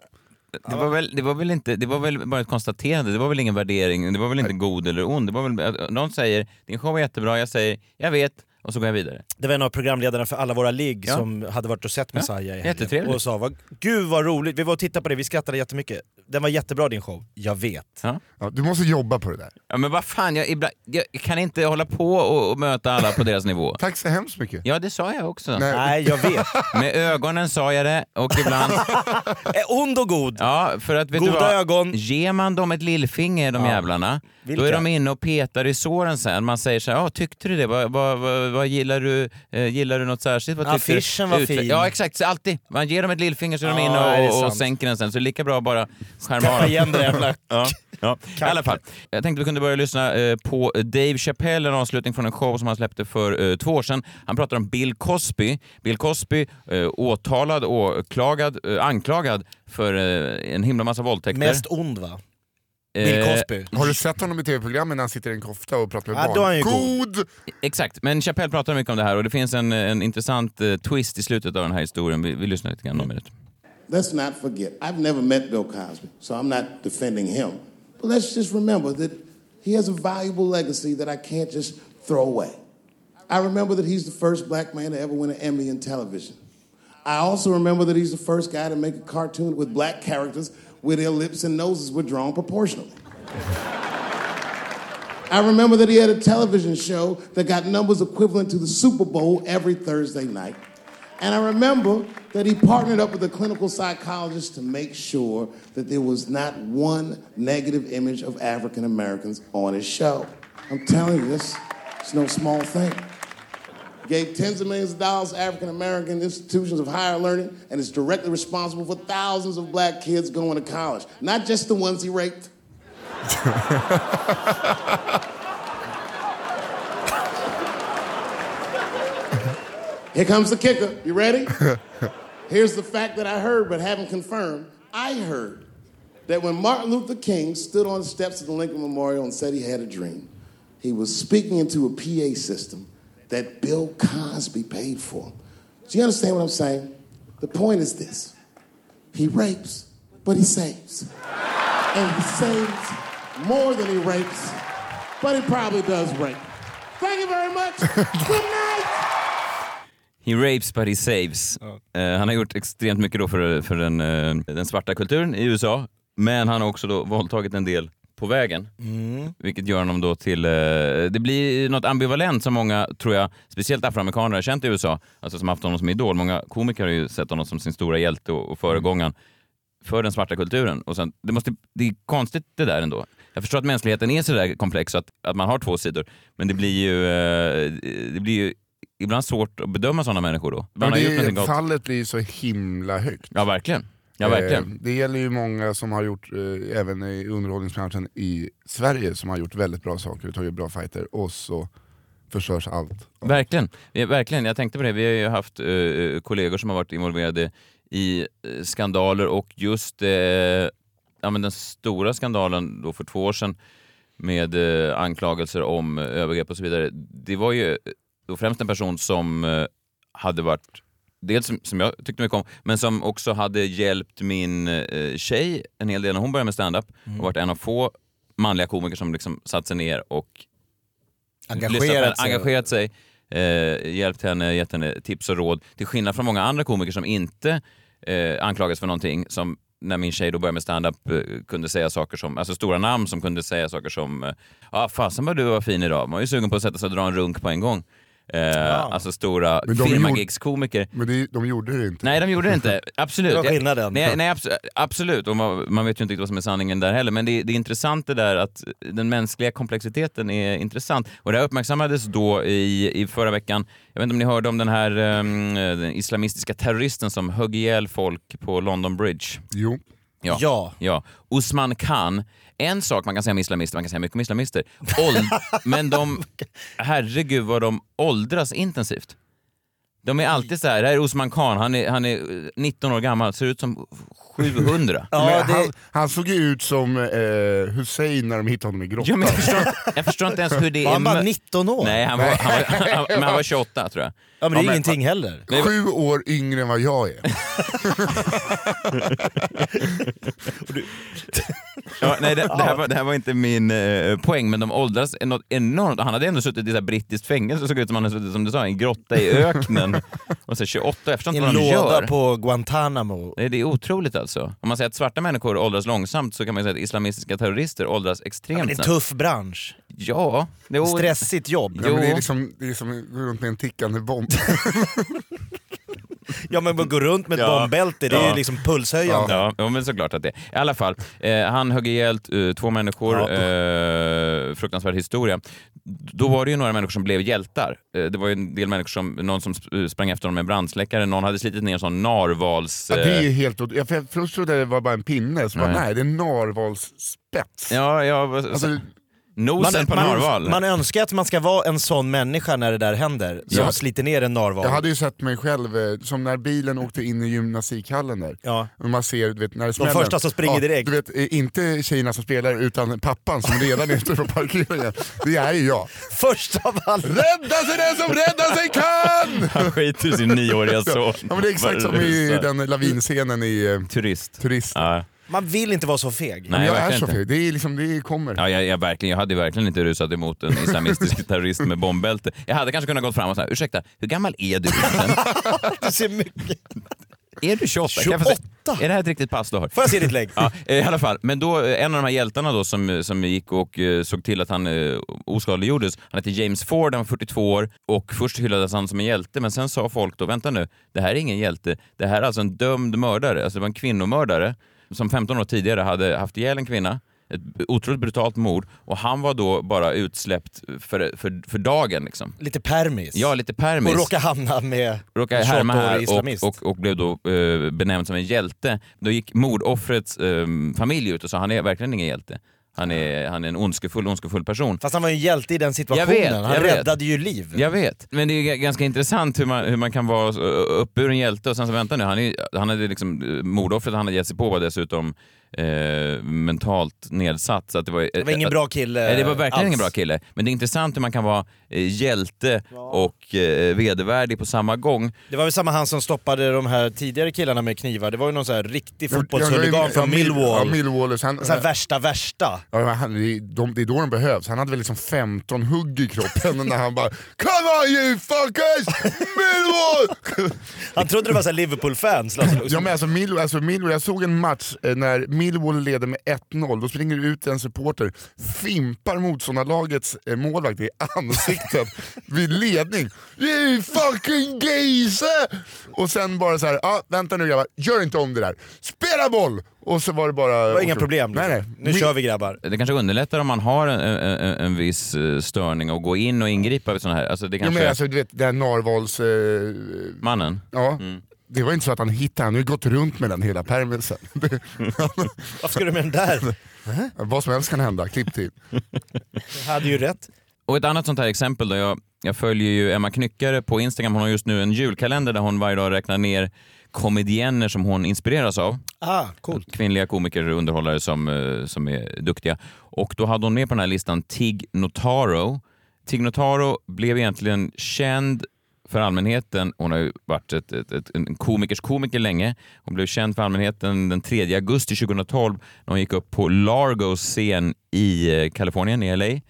Speaker 5: Det var, väl, det var väl inte, det var väl bara ett konstaterande, det var väl ingen värdering, det var väl inte god eller ond. Det var väl, att någon säger din show var jättebra, jag säger jag vet och så går jag vidare.
Speaker 7: Det var en av programledarna för alla våra ligg
Speaker 5: Ja.
Speaker 7: som hade varit och sett Messiah i helgen.
Speaker 5: jättetrevligt.
Speaker 7: Och sa vad, gud vad roligt, vi var och tittade på det, vi skrattade jättemycket. Den var jättebra din show. Jag vet.
Speaker 6: Ja, du måste jobba på det där.
Speaker 5: Ja men vad fan, jag, ibland, jag kan inte hålla på och, och möta alla på deras nivå.
Speaker 6: Tack så hemskt mycket.
Speaker 5: Ja det sa jag också.
Speaker 6: Nej.
Speaker 7: Nej jag vet.
Speaker 5: Med ögonen sa jag det och ibland...
Speaker 7: Är ond och god.
Speaker 5: Ja, för att vet du
Speaker 7: Goda
Speaker 5: vad?
Speaker 7: ögon.
Speaker 5: Ger man dem ett lillfinger de jävlarna,
Speaker 7: Vilka?
Speaker 5: då är de inne och petar i såren sen. Man säger så här, ja tyckte du det? Vad, vad, vad, vad gillar du? Eh, gillar du något särskilt? Vad tyckte du?"
Speaker 7: Affischen var
Speaker 5: Utve-
Speaker 7: fin.
Speaker 5: Ja exakt, Så alltid. Man ger dem ett lillfinger så är de
Speaker 7: Ja,
Speaker 5: inne
Speaker 7: det är
Speaker 5: och, och
Speaker 7: sant.
Speaker 5: sänker den sen. Så det är lika bra att bara skärma
Speaker 7: Täppa
Speaker 5: av.
Speaker 7: igen det jävla
Speaker 5: Ja. Ja, I alla fall, jag tänkte vi kunde börja lyssna eh, på Dave Chappelle, en avslutning från en show som han släppte för eh, två år sedan. Han pratar om Bill Cosby. Bill Cosby, eh, åtalad, åklagad, eh, anklagad för eh, en himla massa våldtäkter.
Speaker 7: Mest ond va? Bill
Speaker 5: Eh,
Speaker 7: Cosby.
Speaker 6: Har du sett honom i tv-programmen när han sitter i en kofta och pratar med
Speaker 7: Ja,
Speaker 6: barn?
Speaker 7: då är han ju
Speaker 6: god!
Speaker 5: Exakt, men Chappelle pratar mycket om det här och det finns en, en intressant eh, twist i slutet av den här historien. Vi, vi lyssnar lite grann, någon minut.
Speaker 11: let's not forget, I've never met Bill Cosby, so I'm not defending him. But let's just remember that he has a valuable legacy that I can't just throw away. I remember that he's the first black man to ever win an Emmy in television. I also remember that he's the first guy to make a cartoon with black characters where their lips and noses were drawn proportionally. I remember that he had a television show that got numbers equivalent to the Super Bowl every Thursday night. And I remember that he partnered up with a clinical psychologist to make sure that there was not one negative image of African Americans on his show. I'm telling you, this is no small thing. Gave tens of millions of dollars to African American institutions of higher learning, and is directly responsible for thousands of black kids going to college, not just the ones he raped. Here comes the kicker. You ready? Here's the fact that I heard but haven't confirmed. I heard that when Martin Luther King stood on the steps of the Lincoln Memorial and said he had a dream, he was speaking into a PA system that Bill Cosby paid for. Do you understand what I'm saying? The point is this he rapes, but he saves. And he saves more than he rapes, but he probably does rape. Thank you very much. Good night.
Speaker 5: He rapes but he saves. Eh, han har gjort extremt mycket då för, för den, eh, den svarta kulturen i USA, men han har också då våldtagit en del på vägen. Vilket gör honom då till... eh, det blir något ambivalent som många, tror jag, speciellt afroamerikaner har känt i USA, alltså som haft honom som idol. Många komiker har ju sett honom som sin stora hjälte och, och föregångaren för den svarta kulturen. Och sen, det, måste, det är konstigt det där ändå. Jag förstår att mänskligheten är sådär komplex och att, att man har två sidor, men det blir ju, eh, det blir ju ibland svårt att bedöma sådana människor då. Man
Speaker 6: Men
Speaker 5: har gjort
Speaker 6: det,
Speaker 5: någonting
Speaker 6: är-
Speaker 5: gott.
Speaker 6: fallet blir ju så himla högt.
Speaker 5: Ja, verkligen. Ja, verkligen.
Speaker 6: Eh, Det gäller ju många som har gjort, eh, även i underhållningsbranschen i Sverige, som har gjort väldigt bra saker och tagit bra fighter och så förstörs allt.
Speaker 5: Verkligen. Ja, verkligen. Jag tänkte på det. Vi har ju haft eh, kollegor som har varit involverade i eh, skandaler och just eh, ja, men den stora skandalen då för två år sedan med eh, anklagelser om eh, övergrepp och så vidare. Det var ju eh, då främst en person som eh, hade varit Dels som, som jag tyckte mycket om, men som också hade hjälpt min eh, tjej en hel del när hon började med stand-up och varit en av få manliga komiker som liksom satt sig ner och
Speaker 7: Engagerat
Speaker 5: lyssnat på henne,
Speaker 7: sig.
Speaker 5: engagerat sig eh, hjälpt henne, gett henne tips och råd. Till skillnad från många andra komiker som inte eh, anklagas för någonting, som när min tjej då började med stand-up eh, kunde säga saker som, alltså stora namn som kunde säga saker som eh, ah, “Fasen vad du var fin idag, man var ju sugen på att sätta sig och dra en runk på en gång”. Eh, Alltså stora
Speaker 6: Men de gjorde-
Speaker 5: firmagigskomiker.
Speaker 6: Men det, de gjorde det inte.
Speaker 5: Nej, de gjorde det inte. Absolut.
Speaker 7: Det var
Speaker 5: Jag-
Speaker 7: skillnaden.
Speaker 5: Nej, nej abs- absolut. Och man, man vet ju inte riktigt vad som är sanningen där heller. Men det, det är intressant det där att den mänskliga komplexiteten är intressant. Och det här uppmärksammades då i, i förra veckan. Jag vet inte om ni hörde om den här ehm, den islamistiska terroristen som högg ihjäl folk på London Bridge.
Speaker 6: Jo.
Speaker 5: Ja.
Speaker 7: Ja.
Speaker 5: Ja. Usman Khan. En sak man kan säga om islamister, man kan säga mycket om islamister. Åld- men de, herregud vad de åldras intensivt. De är alltid så här, här är Osman Khan, han är, han är 19 år gammal, ser ut som 700.
Speaker 6: Men
Speaker 7: Ja,
Speaker 6: han,
Speaker 7: det,
Speaker 6: han såg ju ut som eh, Hussein när de hittade honom i grottan.
Speaker 5: Ja, men jag, förstår, jag förstår inte ens hur det
Speaker 7: var
Speaker 5: är
Speaker 7: han bara
Speaker 5: mö-
Speaker 7: 19 år?
Speaker 5: Nej, han var, han, var, han, var- men han var 28 tror jag.
Speaker 7: Ja men det är ingenting heller.
Speaker 6: Sju år yngre än vad jag är.
Speaker 5: Ja, nej, det, det, här var, det här var inte min eh, poäng, men de åldras något enormt. Han hade ändå suttit i så här brittiskt fängelse och såg ut som han hade suttit som du sa, i en grotta i öknen. Och så 28, jag förstår
Speaker 7: I
Speaker 5: inte
Speaker 7: en
Speaker 5: vad de gör.
Speaker 7: låda på Guantanamo.
Speaker 5: Nej, Det är otroligt alltså. Om man säger att svarta människor åldras långsamt så kan man ju säga att islamistiska terrorister åldras
Speaker 7: Men
Speaker 5: extremt
Speaker 7: det är en
Speaker 5: snabbt.
Speaker 7: tuff bransch.
Speaker 5: Ja, det är o-
Speaker 7: Stressigt jobb.
Speaker 6: Ja, men det
Speaker 5: Jo.
Speaker 6: är liksom, det är som att gå runt med en tickande bomb.
Speaker 7: Ja men att gå runt med ett
Speaker 5: Ja.
Speaker 7: bombbälte, det är
Speaker 5: Ja.
Speaker 7: ju liksom pulshöjande.
Speaker 5: Ja, ja, men såklart att det I alla fall, eh, han högg ihjäl eh, två människor. Eh, fruktansvärd historia. Då var det ju några människor som blev hjältar. Eh, det var ju en del människor som, någon som sp- eh, sprang efter honom med en brandsläckare, någon hade slitit ner en sån narvals...
Speaker 6: Ja, det är ju
Speaker 5: eh,
Speaker 6: helt otro- jag, för jag först trodde det var bara en pinne, så bara,
Speaker 5: Nej.
Speaker 6: nej det är en narvalsspets.
Speaker 5: eh, Ja, ja,
Speaker 6: Alltså-
Speaker 5: nosen på narval.
Speaker 7: man önskar att man ska vara en sån människa när det där händer, som
Speaker 6: Ja.
Speaker 7: sliter ner en narval.
Speaker 6: Jag hade ju sett mig själv, eh, som när bilen åkte in i gymnastikhallen där.
Speaker 7: Ja.
Speaker 6: Och man ser, du vet, när det smäller.
Speaker 7: första som springer direkt.
Speaker 6: Du vet, eh, inte tjejerna som spelar utan pappan som redan är ute på parkeringen. Det är ju jag.
Speaker 7: Först av alla!
Speaker 6: Rädda sig den som rädda sig kan!
Speaker 5: Han skiter i sin nioåriga son.
Speaker 6: Ja, men det är exakt som i den lavinscenen i eh,
Speaker 5: Turist.
Speaker 6: Turist.
Speaker 5: Ja.
Speaker 7: Man vill inte vara så feg.
Speaker 5: Nej,
Speaker 6: jag är
Speaker 5: verkligen
Speaker 6: så
Speaker 5: inte.
Speaker 6: feg, det, är liksom, det kommer.
Speaker 5: Ja, jag, jag, verkligen, jag hade ju verkligen inte rusat emot en islamistisk terrorist med bombbälte. Jag hade kanske kunnat gått fram och sagt ursäkta, hur gammal är du egentligen?
Speaker 7: Du ser mycket.
Speaker 5: Är du 28? Kan jag få se-
Speaker 7: 28?
Speaker 5: Är det här ett riktigt pass du har?
Speaker 7: Får jag se ditt lägg?
Speaker 5: Ja, eh, i alla fall. Men då, eh, en av de här hjältarna då som, eh, som gick och eh, såg till att han eh, oskadliggjordes, han hette James Ford, han var 42 år och först hyllades han som en hjälte men sen sa folk då, vänta nu, det här är ingen hjälte, det här är alltså en dömd mördare, alltså det var en kvinnomördare som 15 år tidigare hade haft ihjäl en kvinna. Ett otroligt brutalt mord och han var då bara utsläppt för, för, för dagen liksom.
Speaker 7: Lite permis.
Speaker 5: Ja, lite permis
Speaker 7: och råkar hamna med
Speaker 5: råkade
Speaker 7: en
Speaker 5: härma
Speaker 7: 28-årig
Speaker 5: här
Speaker 7: islamist.
Speaker 5: och, och, och blev då eh, benämnd som en hjälte. Då gick mordoffrets eh, familj ut och sa han är verkligen ingen hjälte. Han är, han är en ondskefull, ondskefull person.
Speaker 7: Fast han var ju en hjälte i den situationen.
Speaker 5: Jag vet,
Speaker 7: han
Speaker 5: jag vet.
Speaker 7: räddade ju liv.
Speaker 5: Jag vet, men det är g- ganska intressant hur man, hur man kan vara så- upp ur en hjälte och sen så vänta nu, han, är, han hade liksom, eh, mordoffret han hade gett sig på var dessutom eh, mentalt nedsatt. Så att det, var,
Speaker 7: Det var ingen bra kille
Speaker 5: Nej, det var verkligen
Speaker 7: alls.
Speaker 5: ingen bra kille. Men det är intressant hur man kan vara eh, hjälte och eh, vedervärdig på samma gång.
Speaker 7: Det var väl samma han som stoppade de här tidigare killarna med knivar. Det var ju någon sån här riktig
Speaker 6: Jag- jag-
Speaker 7: fotbollshuligan från
Speaker 6: jag- Ja,
Speaker 7: Millwall.
Speaker 6: Millwall. Så han,
Speaker 7: Så här värsta värsta.
Speaker 6: Ja, men han, det, är- de, det är då de behövs. Han hade väl liksom 15 hugg i kroppen när han bara Come on you fuckers! Millwall!
Speaker 7: Han trodde det var så här Liverpool-fans. Lasse Lund.
Speaker 6: ja, men alltså, Millwall, alltså, Millwall, jag såg en match eh, när Millwall leder med 1-0, då springer ut en supporter, fimpar motståndarlagets eh, målvakt i ansiktet vid ledning. You fucking geise! Och sen bara så här, ah, vänta nu grabbar, gör inte om det där. Spela boll! Och så var det bara...
Speaker 7: Det var inga problem. liksom.
Speaker 6: Nej, nej.
Speaker 7: Nu kör vi grabbar.
Speaker 5: Det kanske underlättar om man har en, en, en- en viss eh, störning och gå in och ingripa vid sådana här. Alltså det
Speaker 6: Jo,
Speaker 5: kanske
Speaker 6: men alltså, du vet, den narvals... Eh,
Speaker 5: mannen.
Speaker 6: Ja. Det var inte så att han hittade, han har ju gått runt med den hela permisen. Det-
Speaker 7: Varför ska du med den där?
Speaker 6: Vad som helst kan hända, klipp till.
Speaker 7: Jag hade ju rätt.
Speaker 5: Och ett annat sånt här exempel då. Jag, jag följer ju Emma Knyckare på Instagram. Hon har just nu en julkalender där hon varje dag räknar ner komedienner som hon inspireras av.
Speaker 7: Ah, coolt.
Speaker 5: Kvinnliga komiker och underhållare som, eh, som är duktiga. Och då hade hon med på den här listan Tig Notaro. Tig Notaro blev egentligen känd för allmänheten. Hon har ju varit ett, ett, ett, en komikers komiker länge. Hon blev känd för allmänheten den 3 augusti 2012 när hon gick upp på Largos scen i eh, Kalifornien, i LA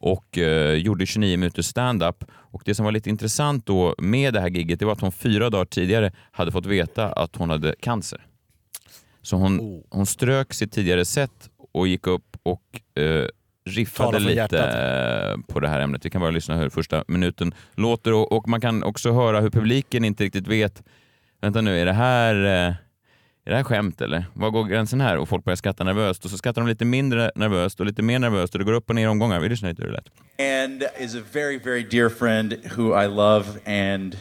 Speaker 5: och eh, gjorde 29 minuter stand-up. Och Det som var lite intressant då med det här gigget det var att hon fyra dagar tidigare hade fått veta att hon hade cancer. Så hon,
Speaker 7: Oh.
Speaker 5: hon strök sitt tidigare set och gick upp och eh, riffade
Speaker 7: Tala från
Speaker 5: lite
Speaker 7: hjärtat.
Speaker 5: eh, på det här ämnet. Vi kan bara lyssna hur första minuten låter och, och man kan också höra hur publiken inte riktigt vet. Vänta nu, är det här, eh, är det här skämt eller? Var går gränsen här? Och folk börjar skratta nervöst och så skrattar de lite mindre nervöst och lite mer nervöst och det går upp och ner i omgångar. Vi lyssnar lite hur det lät.
Speaker 12: and is a very, very dear friend who I love and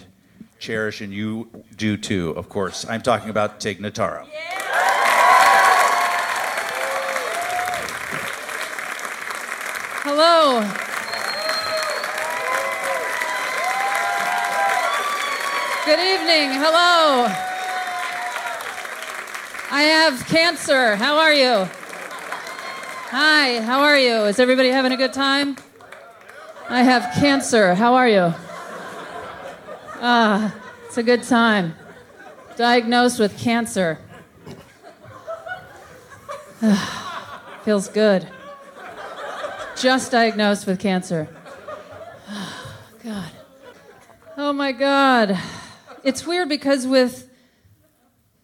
Speaker 12: cherish, and you do too, of course. I'm talking about Tig Notaro.
Speaker 13: Hello. Good evening. Hello. I have cancer. How are you? Hi, how are you? Is everybody having a good time? I have cancer. How are you? Ah, it's a good time. Diagnosed with cancer. Ah, feels good just diagnosed with cancer. God. Oh my God. It's weird because with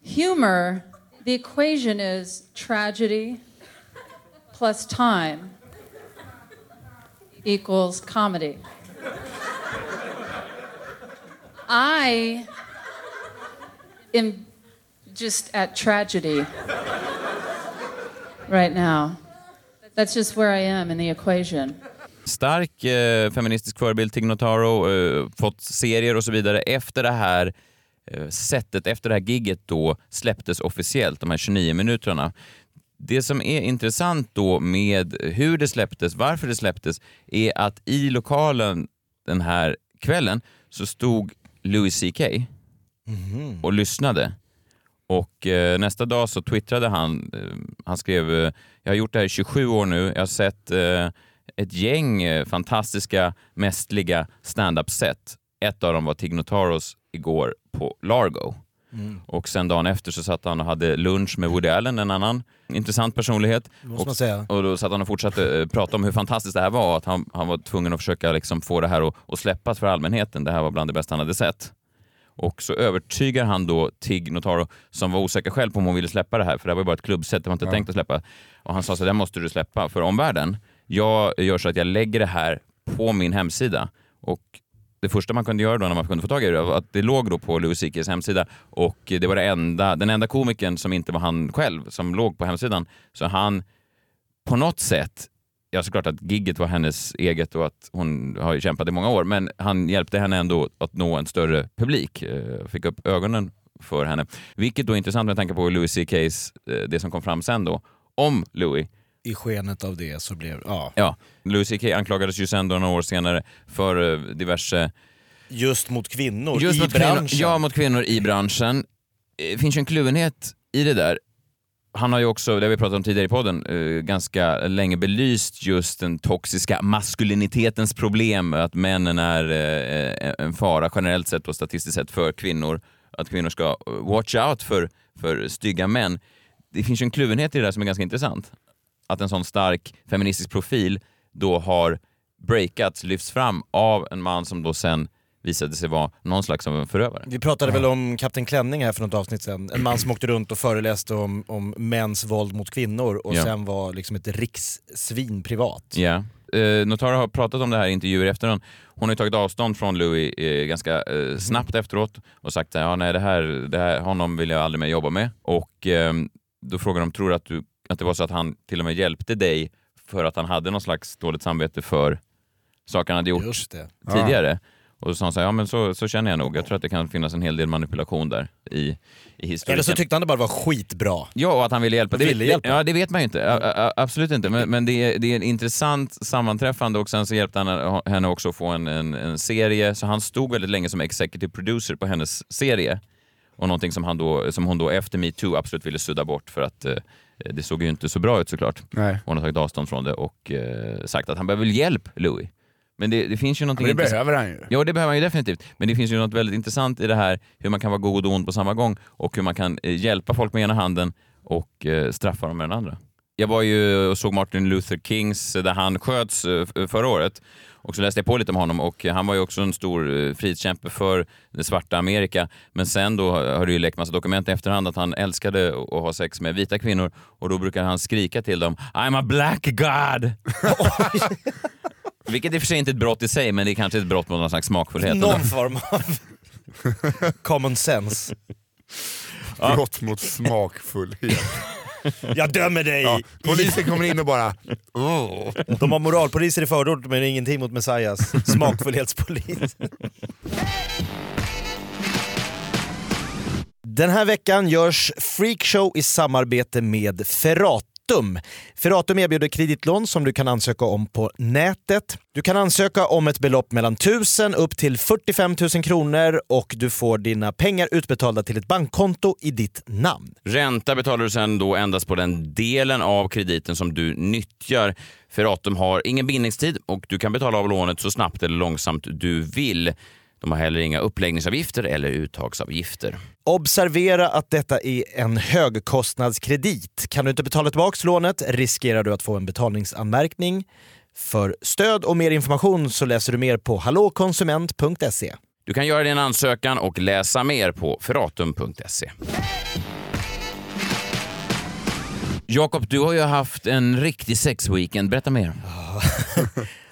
Speaker 13: humor, the equation is tragedy plus time equals comedy. I am just at tragedy right now. That's just where I am in the equation.
Speaker 5: Stark eh, feministisk förebild, Tig Notaro, eh, fått serier och så vidare. Efter det här eh, sättet, efter det här gigget då släpptes officiellt, de här 29 minuterna. Det som är intressant då med hur det släpptes, varför det släpptes, är att i lokalen den här kvällen så stod Louis CK och lyssnade. Och eh, nästa dag så twittrade han, eh, han skrev eh, “Jag har gjort det här i 27 år nu, jag har sett eh, ett gäng eh, fantastiska, mästliga stand-up-set. Ett av dem var Tig Notaros igår på Largo.
Speaker 7: Mm.
Speaker 5: Och sen dagen efter så satt han och hade lunch med Woody Allen, en annan intressant personlighet.
Speaker 7: Det måste
Speaker 5: och,
Speaker 7: man säga.
Speaker 5: och då satt han och fortsatte eh, prata om hur fantastiskt det här var, att han, han var tvungen att försöka liksom få det här att, att släppas för allmänheten. Det här var bland det bästa han hade sett. Och så övertygar han då Tig Notaro, som var osäker själv på om hon ville släppa det här, för det här var ju bara ett klubbset, det var inte
Speaker 14: Ja.
Speaker 5: tänkt att släppa. Och han sa så här, det här måste du släppa för omvärlden. Jag gör så att jag lägger det här på min hemsida. Och det första man kunde göra då när man kunde få tag i det var att det låg då på Louis CKs hemsida och det var det enda, den enda komikern som inte var han själv som låg på hemsidan. Så han på något sätt, ja såklart att gigget var hennes eget och att hon har ju kämpat i många år, men han hjälpte henne ändå att nå en större publik, eh, fick upp ögonen för henne. Vilket då är intressant med tanke på Louis CKs, eh, det som kom fram sen då, om Louis.
Speaker 7: I skenet av det så blev ja.
Speaker 5: Ja, Louis CK anklagades ju sen då några år senare för eh, diverse
Speaker 7: Just mot kvinnor
Speaker 5: Just
Speaker 7: i
Speaker 5: mot kvinnor-
Speaker 7: branschen.
Speaker 5: ja, mot kvinnor i branschen. Det finns ju en kluvenhet i det där. Han har ju också, det har vi pratat om tidigare i podden, eh, ganska länge belyst just den toxiska maskulinitetens problem, att männen är eh, en fara generellt sett och statistiskt sett för kvinnor. Att kvinnor ska eh, watch out för, för stygga män. Det finns ju en kluvenhet i det där som är ganska intressant. Att en sån stark feministisk profil då har breakats, lyfts fram av en man som då sen visade sig vara någon slags av en förövare.
Speaker 7: Vi pratade väl om Kapten Klänning här för något avsnitt sedan. En man som åkte runt och föreläste om, om mäns våld mot kvinnor och
Speaker 5: Ja.
Speaker 7: sen var liksom ett rikssvin privat.
Speaker 5: Ja. Eh, Notara har pratat om det här i intervjuer efter honom. Hon har ju tagit avstånd från Louis eh, ganska eh, snabbt efteråt och sagt så här, ja, nej det här, det här, honom vill jag aldrig mer jobba med. Och ehm, då frågar de, tror du att, du att det var så att han till och med hjälpte dig för att han hade någon slags dåligt samvete för saker han hade gjort
Speaker 7: Just det.
Speaker 5: tidigare? Och så sa han så här, ja men så, så känner jag nog. Jag tror att det kan finnas en hel del manipulation där i, i historien.
Speaker 7: Eller så tyckte han det bara var skitbra.
Speaker 5: Ja, och att han ville hjälpa.
Speaker 7: Han ville
Speaker 5: det,
Speaker 7: hjälpa.
Speaker 5: Ja, det vet man ju inte. A- a- a- absolut inte. Men, men det, är, det är en intressant sammanträffande och sen så hjälpte han henne också att få en, en, en serie. Så han stod väldigt länge som executive producer på hennes serie. Och någonting som, han då, som hon då efter metoo absolut ville sudda bort för att eh, det såg ju inte så bra ut såklart.
Speaker 6: Nej.
Speaker 5: Hon har tagit avstånd från det och eh, sagt att han behöver väl hjälp, Louis. Men det, det finns ju någonting...
Speaker 6: Men det
Speaker 5: intress-
Speaker 6: behöver han ju.
Speaker 5: Ja, det behöver han ju definitivt. Men det finns ju något väldigt intressant i det här hur man kan vara god och ond på samma gång och hur man kan eh, hjälpa folk med ena handen och eh, straffa dem med den andra. Jag var ju och såg Martin Luther Kings eh, där han sköts eh, f- förra året och så läste jag på lite om honom och eh, han var ju också en stor eh, frihetskämpe för det svarta Amerika. Men sen då har det ju läckt massa dokument i efterhand att han älskade att att ha sex med vita kvinnor och då brukar han skrika till dem I'm a black god! Vilket i och för sig inte är ett brott i sig, men det är kanske ett brott mot någon slags smakfullhet.
Speaker 7: Någon form av common sense.
Speaker 6: Brott mot smakfullhet.
Speaker 7: Jag dömer dig!
Speaker 6: Ja, polisen kommer in och bara... "Åh."
Speaker 7: De har moralpoliser i förorten men ingenting mot Messias. Smakfullhetspolis. Den här veckan görs Freakshow i samarbete med Ferratum. Ferratum erbjuder kreditlån som du kan ansöka om på nätet. Du kan ansöka om ett belopp mellan 1000 upp till 45 000 kronor och du får dina pengar utbetalda till ett bankkonto i ditt namn.
Speaker 5: Ränta betalar du sen då endast på den delen av krediten som du nyttjar. Ferratum har ingen bindningstid och du kan betala av lånet så snabbt eller långsamt du vill. De har heller inga uppläggningsavgifter eller uttagsavgifter.
Speaker 7: Observera att detta är en högkostnadskredit. Kan du inte betala tillbaka lånet riskerar du att få en betalningsanmärkning. För stöd och mer information så läser du mer på hallåkonsument.se.
Speaker 5: Du kan göra din ansökan och läsa mer på ferratum.se. Jakob, du har ju haft en riktig sexweekend. Berätta mer.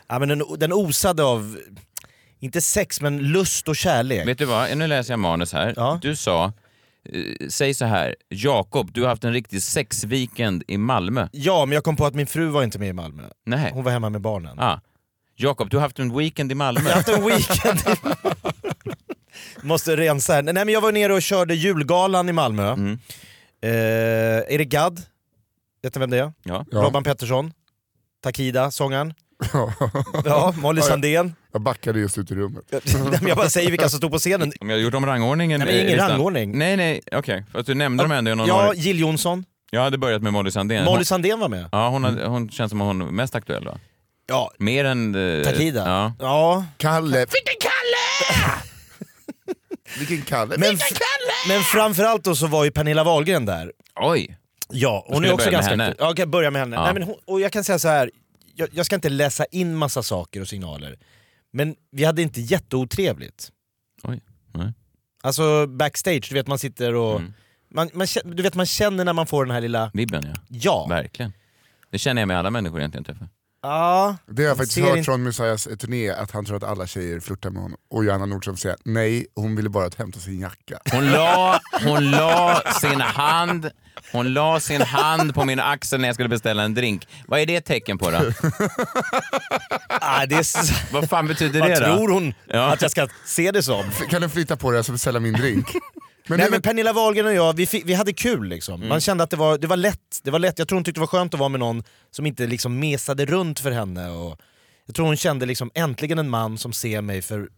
Speaker 7: Ja, men den, den osade av, inte sex, men lust och kärlek.
Speaker 5: Vet du vad, nu läser jag manus här. Du sa eh, säg så här, Jakob, du har haft en riktig sexweekend i Malmö.
Speaker 7: Ja, men jag kom på att min fru var inte med i Malmö.
Speaker 5: Nej.
Speaker 7: Hon var hemma med barnen.
Speaker 5: Ah. Jakob, du har haft en weekend i Malmö.
Speaker 7: Jag har haft en weekend
Speaker 5: i Malmö.
Speaker 7: Måste rensa här. Nej men jag var nere och körde julgalan i Malmö. Eh, Erik Gadd, vet ni vem det är?
Speaker 5: Ja.
Speaker 7: Robban Pettersson, Takida, sångaren. ja, Molly
Speaker 6: Ja, jag-
Speaker 7: Sandén.
Speaker 6: Jag backade just ut i rummet.
Speaker 7: Nej, men jag bara säger vilka som stod på scenen.
Speaker 5: Om jag har gjort om rangordningen eh,
Speaker 7: Nej, men
Speaker 5: i
Speaker 7: ingen
Speaker 5: listan.
Speaker 7: rangordning.
Speaker 5: Nej, nej, okej. För att du nämnde dem ändå i någon
Speaker 7: Ja,
Speaker 5: ordning.
Speaker 7: Jill Johnson.
Speaker 5: Jag hade börjat med Molly Sandén.
Speaker 7: Molly
Speaker 5: Hon-
Speaker 7: Sandén var med.
Speaker 5: Ja, hon, hade, hon känns som hon är mest aktuell va?
Speaker 7: Ja.
Speaker 5: Mer än... eh,
Speaker 7: Takida.
Speaker 5: Ja.
Speaker 7: Ja.
Speaker 6: Kalle.
Speaker 7: Vilken Kalle!
Speaker 6: Vilken Kalle.
Speaker 7: Men, men framförallt då så var ju Pernilla Wahlgren där.
Speaker 5: Oj.
Speaker 7: Ja,
Speaker 5: ska
Speaker 7: hon
Speaker 5: vi
Speaker 7: är också
Speaker 5: börja med
Speaker 7: ganska...
Speaker 5: henne.
Speaker 7: aktiv. Ja, jag kan börja med henne.
Speaker 5: Ja.
Speaker 7: Nej, men hon, och jag kan säga så här. Jag, jag ska inte läsa in massa saker och signaler. Men vi hade inte jätteotrevligt.
Speaker 5: Oj. Nej.
Speaker 7: Alltså backstage, du vet man sitter och...
Speaker 5: Mm.
Speaker 7: Man, man, kä- du vet man känner när man får den här lilla...
Speaker 5: Vibben ja.
Speaker 7: Ja.
Speaker 5: Verkligen. Det känner jag med alla människor egentligen typ. jag träffar.
Speaker 7: Ja,
Speaker 6: Det har jag faktiskt
Speaker 7: ser
Speaker 6: hört
Speaker 7: inte-
Speaker 6: från Messiahs turné, att han tror att alla tjejer flörtar med honom. Och Johanna Nordström säger nej, hon ville bara hämta sin jacka.
Speaker 5: Hon la, hon la sin hand hon la sin hand på min axel när jag skulle beställa en drink. Vad är det ett tecken på då?
Speaker 7: Ah, det är...
Speaker 5: Vad fan betyder
Speaker 7: Vad
Speaker 5: det då?
Speaker 7: tror hon
Speaker 5: Ja.
Speaker 7: att jag ska se det som?
Speaker 6: Kan du flytta på det så beställa min drink? Men
Speaker 7: Nej
Speaker 6: det-
Speaker 7: men Pernilla Wahlgren och jag, vi, fi- vi hade kul liksom.
Speaker 5: Mm.
Speaker 7: Man kände att det var, det var lätt. Det var lätt. Jag tror hon tyckte det var skönt att vara med någon som inte liksom mesade runt för henne. Och jag tror hon kände liksom äntligen en man som ser mig för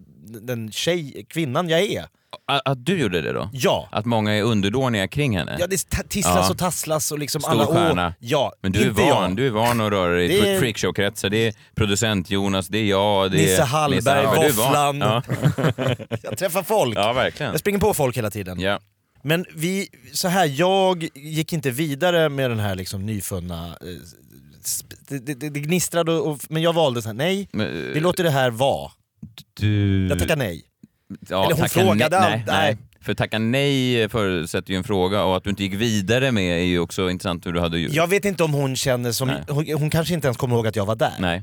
Speaker 7: den tjej, kvinnan jag är.
Speaker 5: Att, att du gjorde det då?
Speaker 7: Ja.
Speaker 5: Att många är underdåniga kring henne?
Speaker 7: Ja, det ta- tisslas
Speaker 5: Ja.
Speaker 7: och tasslas och liksom
Speaker 5: Stor
Speaker 7: alla... åh,
Speaker 5: stjärna.
Speaker 7: Ja,
Speaker 5: Men du är,
Speaker 7: inte
Speaker 5: van,
Speaker 7: jag.
Speaker 5: du är van att röra dig
Speaker 7: Det
Speaker 5: i
Speaker 7: är-
Speaker 5: freakshow-kretsar. Det är producent Jonas, det är jag, det är
Speaker 7: Nisse Hallberg,
Speaker 5: Du är van.
Speaker 7: Våfflan.
Speaker 5: Ja.
Speaker 7: Jag träffar folk.
Speaker 5: ja, verkligen.
Speaker 7: Jag springer på folk hela tiden.
Speaker 5: Ja.
Speaker 7: Men vi, så här, jag gick inte vidare med den här liksom nyfunna... eh, sp- Det, det, det gnistrade, och, och, men jag valde så här, nej,
Speaker 5: Men, eh,
Speaker 7: vi låter det här vara.
Speaker 5: Du...
Speaker 7: Jag tackar nej.
Speaker 5: Ja,
Speaker 7: Eller hon
Speaker 5: tacka
Speaker 7: frågade
Speaker 5: nej,
Speaker 7: allt.
Speaker 5: nej, nej.
Speaker 7: Nej.
Speaker 5: För tacka nej förutsätter ju en fråga och att du inte gick vidare med är ju också intressant hur du hade gjort.
Speaker 7: Jag vet inte om hon känner som...
Speaker 5: Nej.
Speaker 7: Hon, hon kanske inte ens kommer ihåg att jag var där.
Speaker 5: Nej.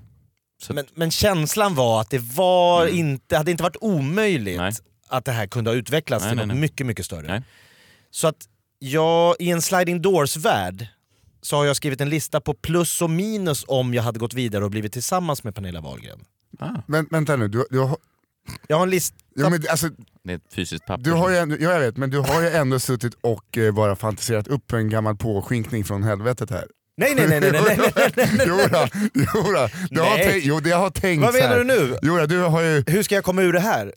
Speaker 5: Så- Mm.
Speaker 7: Men, men känslan var att det var inte, hade inte varit omöjligt
Speaker 5: Nej.
Speaker 7: att det här kunde ha utvecklats
Speaker 5: Nej,
Speaker 7: till
Speaker 5: nej,
Speaker 7: något
Speaker 5: nej.
Speaker 7: mycket, mycket större.
Speaker 5: Nej.
Speaker 7: Så att jag, i en sliding doors-värld, så har jag skrivit en lista på plus och minus om jag hade gått vidare och blivit tillsammans med Pernilla Wahlgren.
Speaker 6: Men, vänta nu, du, du har...
Speaker 7: Jag har en lista...
Speaker 6: Ja, men, alltså,
Speaker 5: Det är ett fysiskt papper.
Speaker 6: du har ju ändå, ja, jag vet, men du har ju ändå suttit och eh, bara fantiserat upp en gammal påskinkning från helvetet här.
Speaker 7: Nej, nej, nej, nej, nej, nej, nej, nej, nej, nej.
Speaker 6: Jodå, jodå. Du har
Speaker 7: Nej.
Speaker 6: tänkt- Jo, det har tänkt
Speaker 7: Vad
Speaker 6: så
Speaker 7: menar
Speaker 6: här.
Speaker 7: du nu?
Speaker 6: Jodå, du har ju...
Speaker 7: Hur ska jag komma ur det här?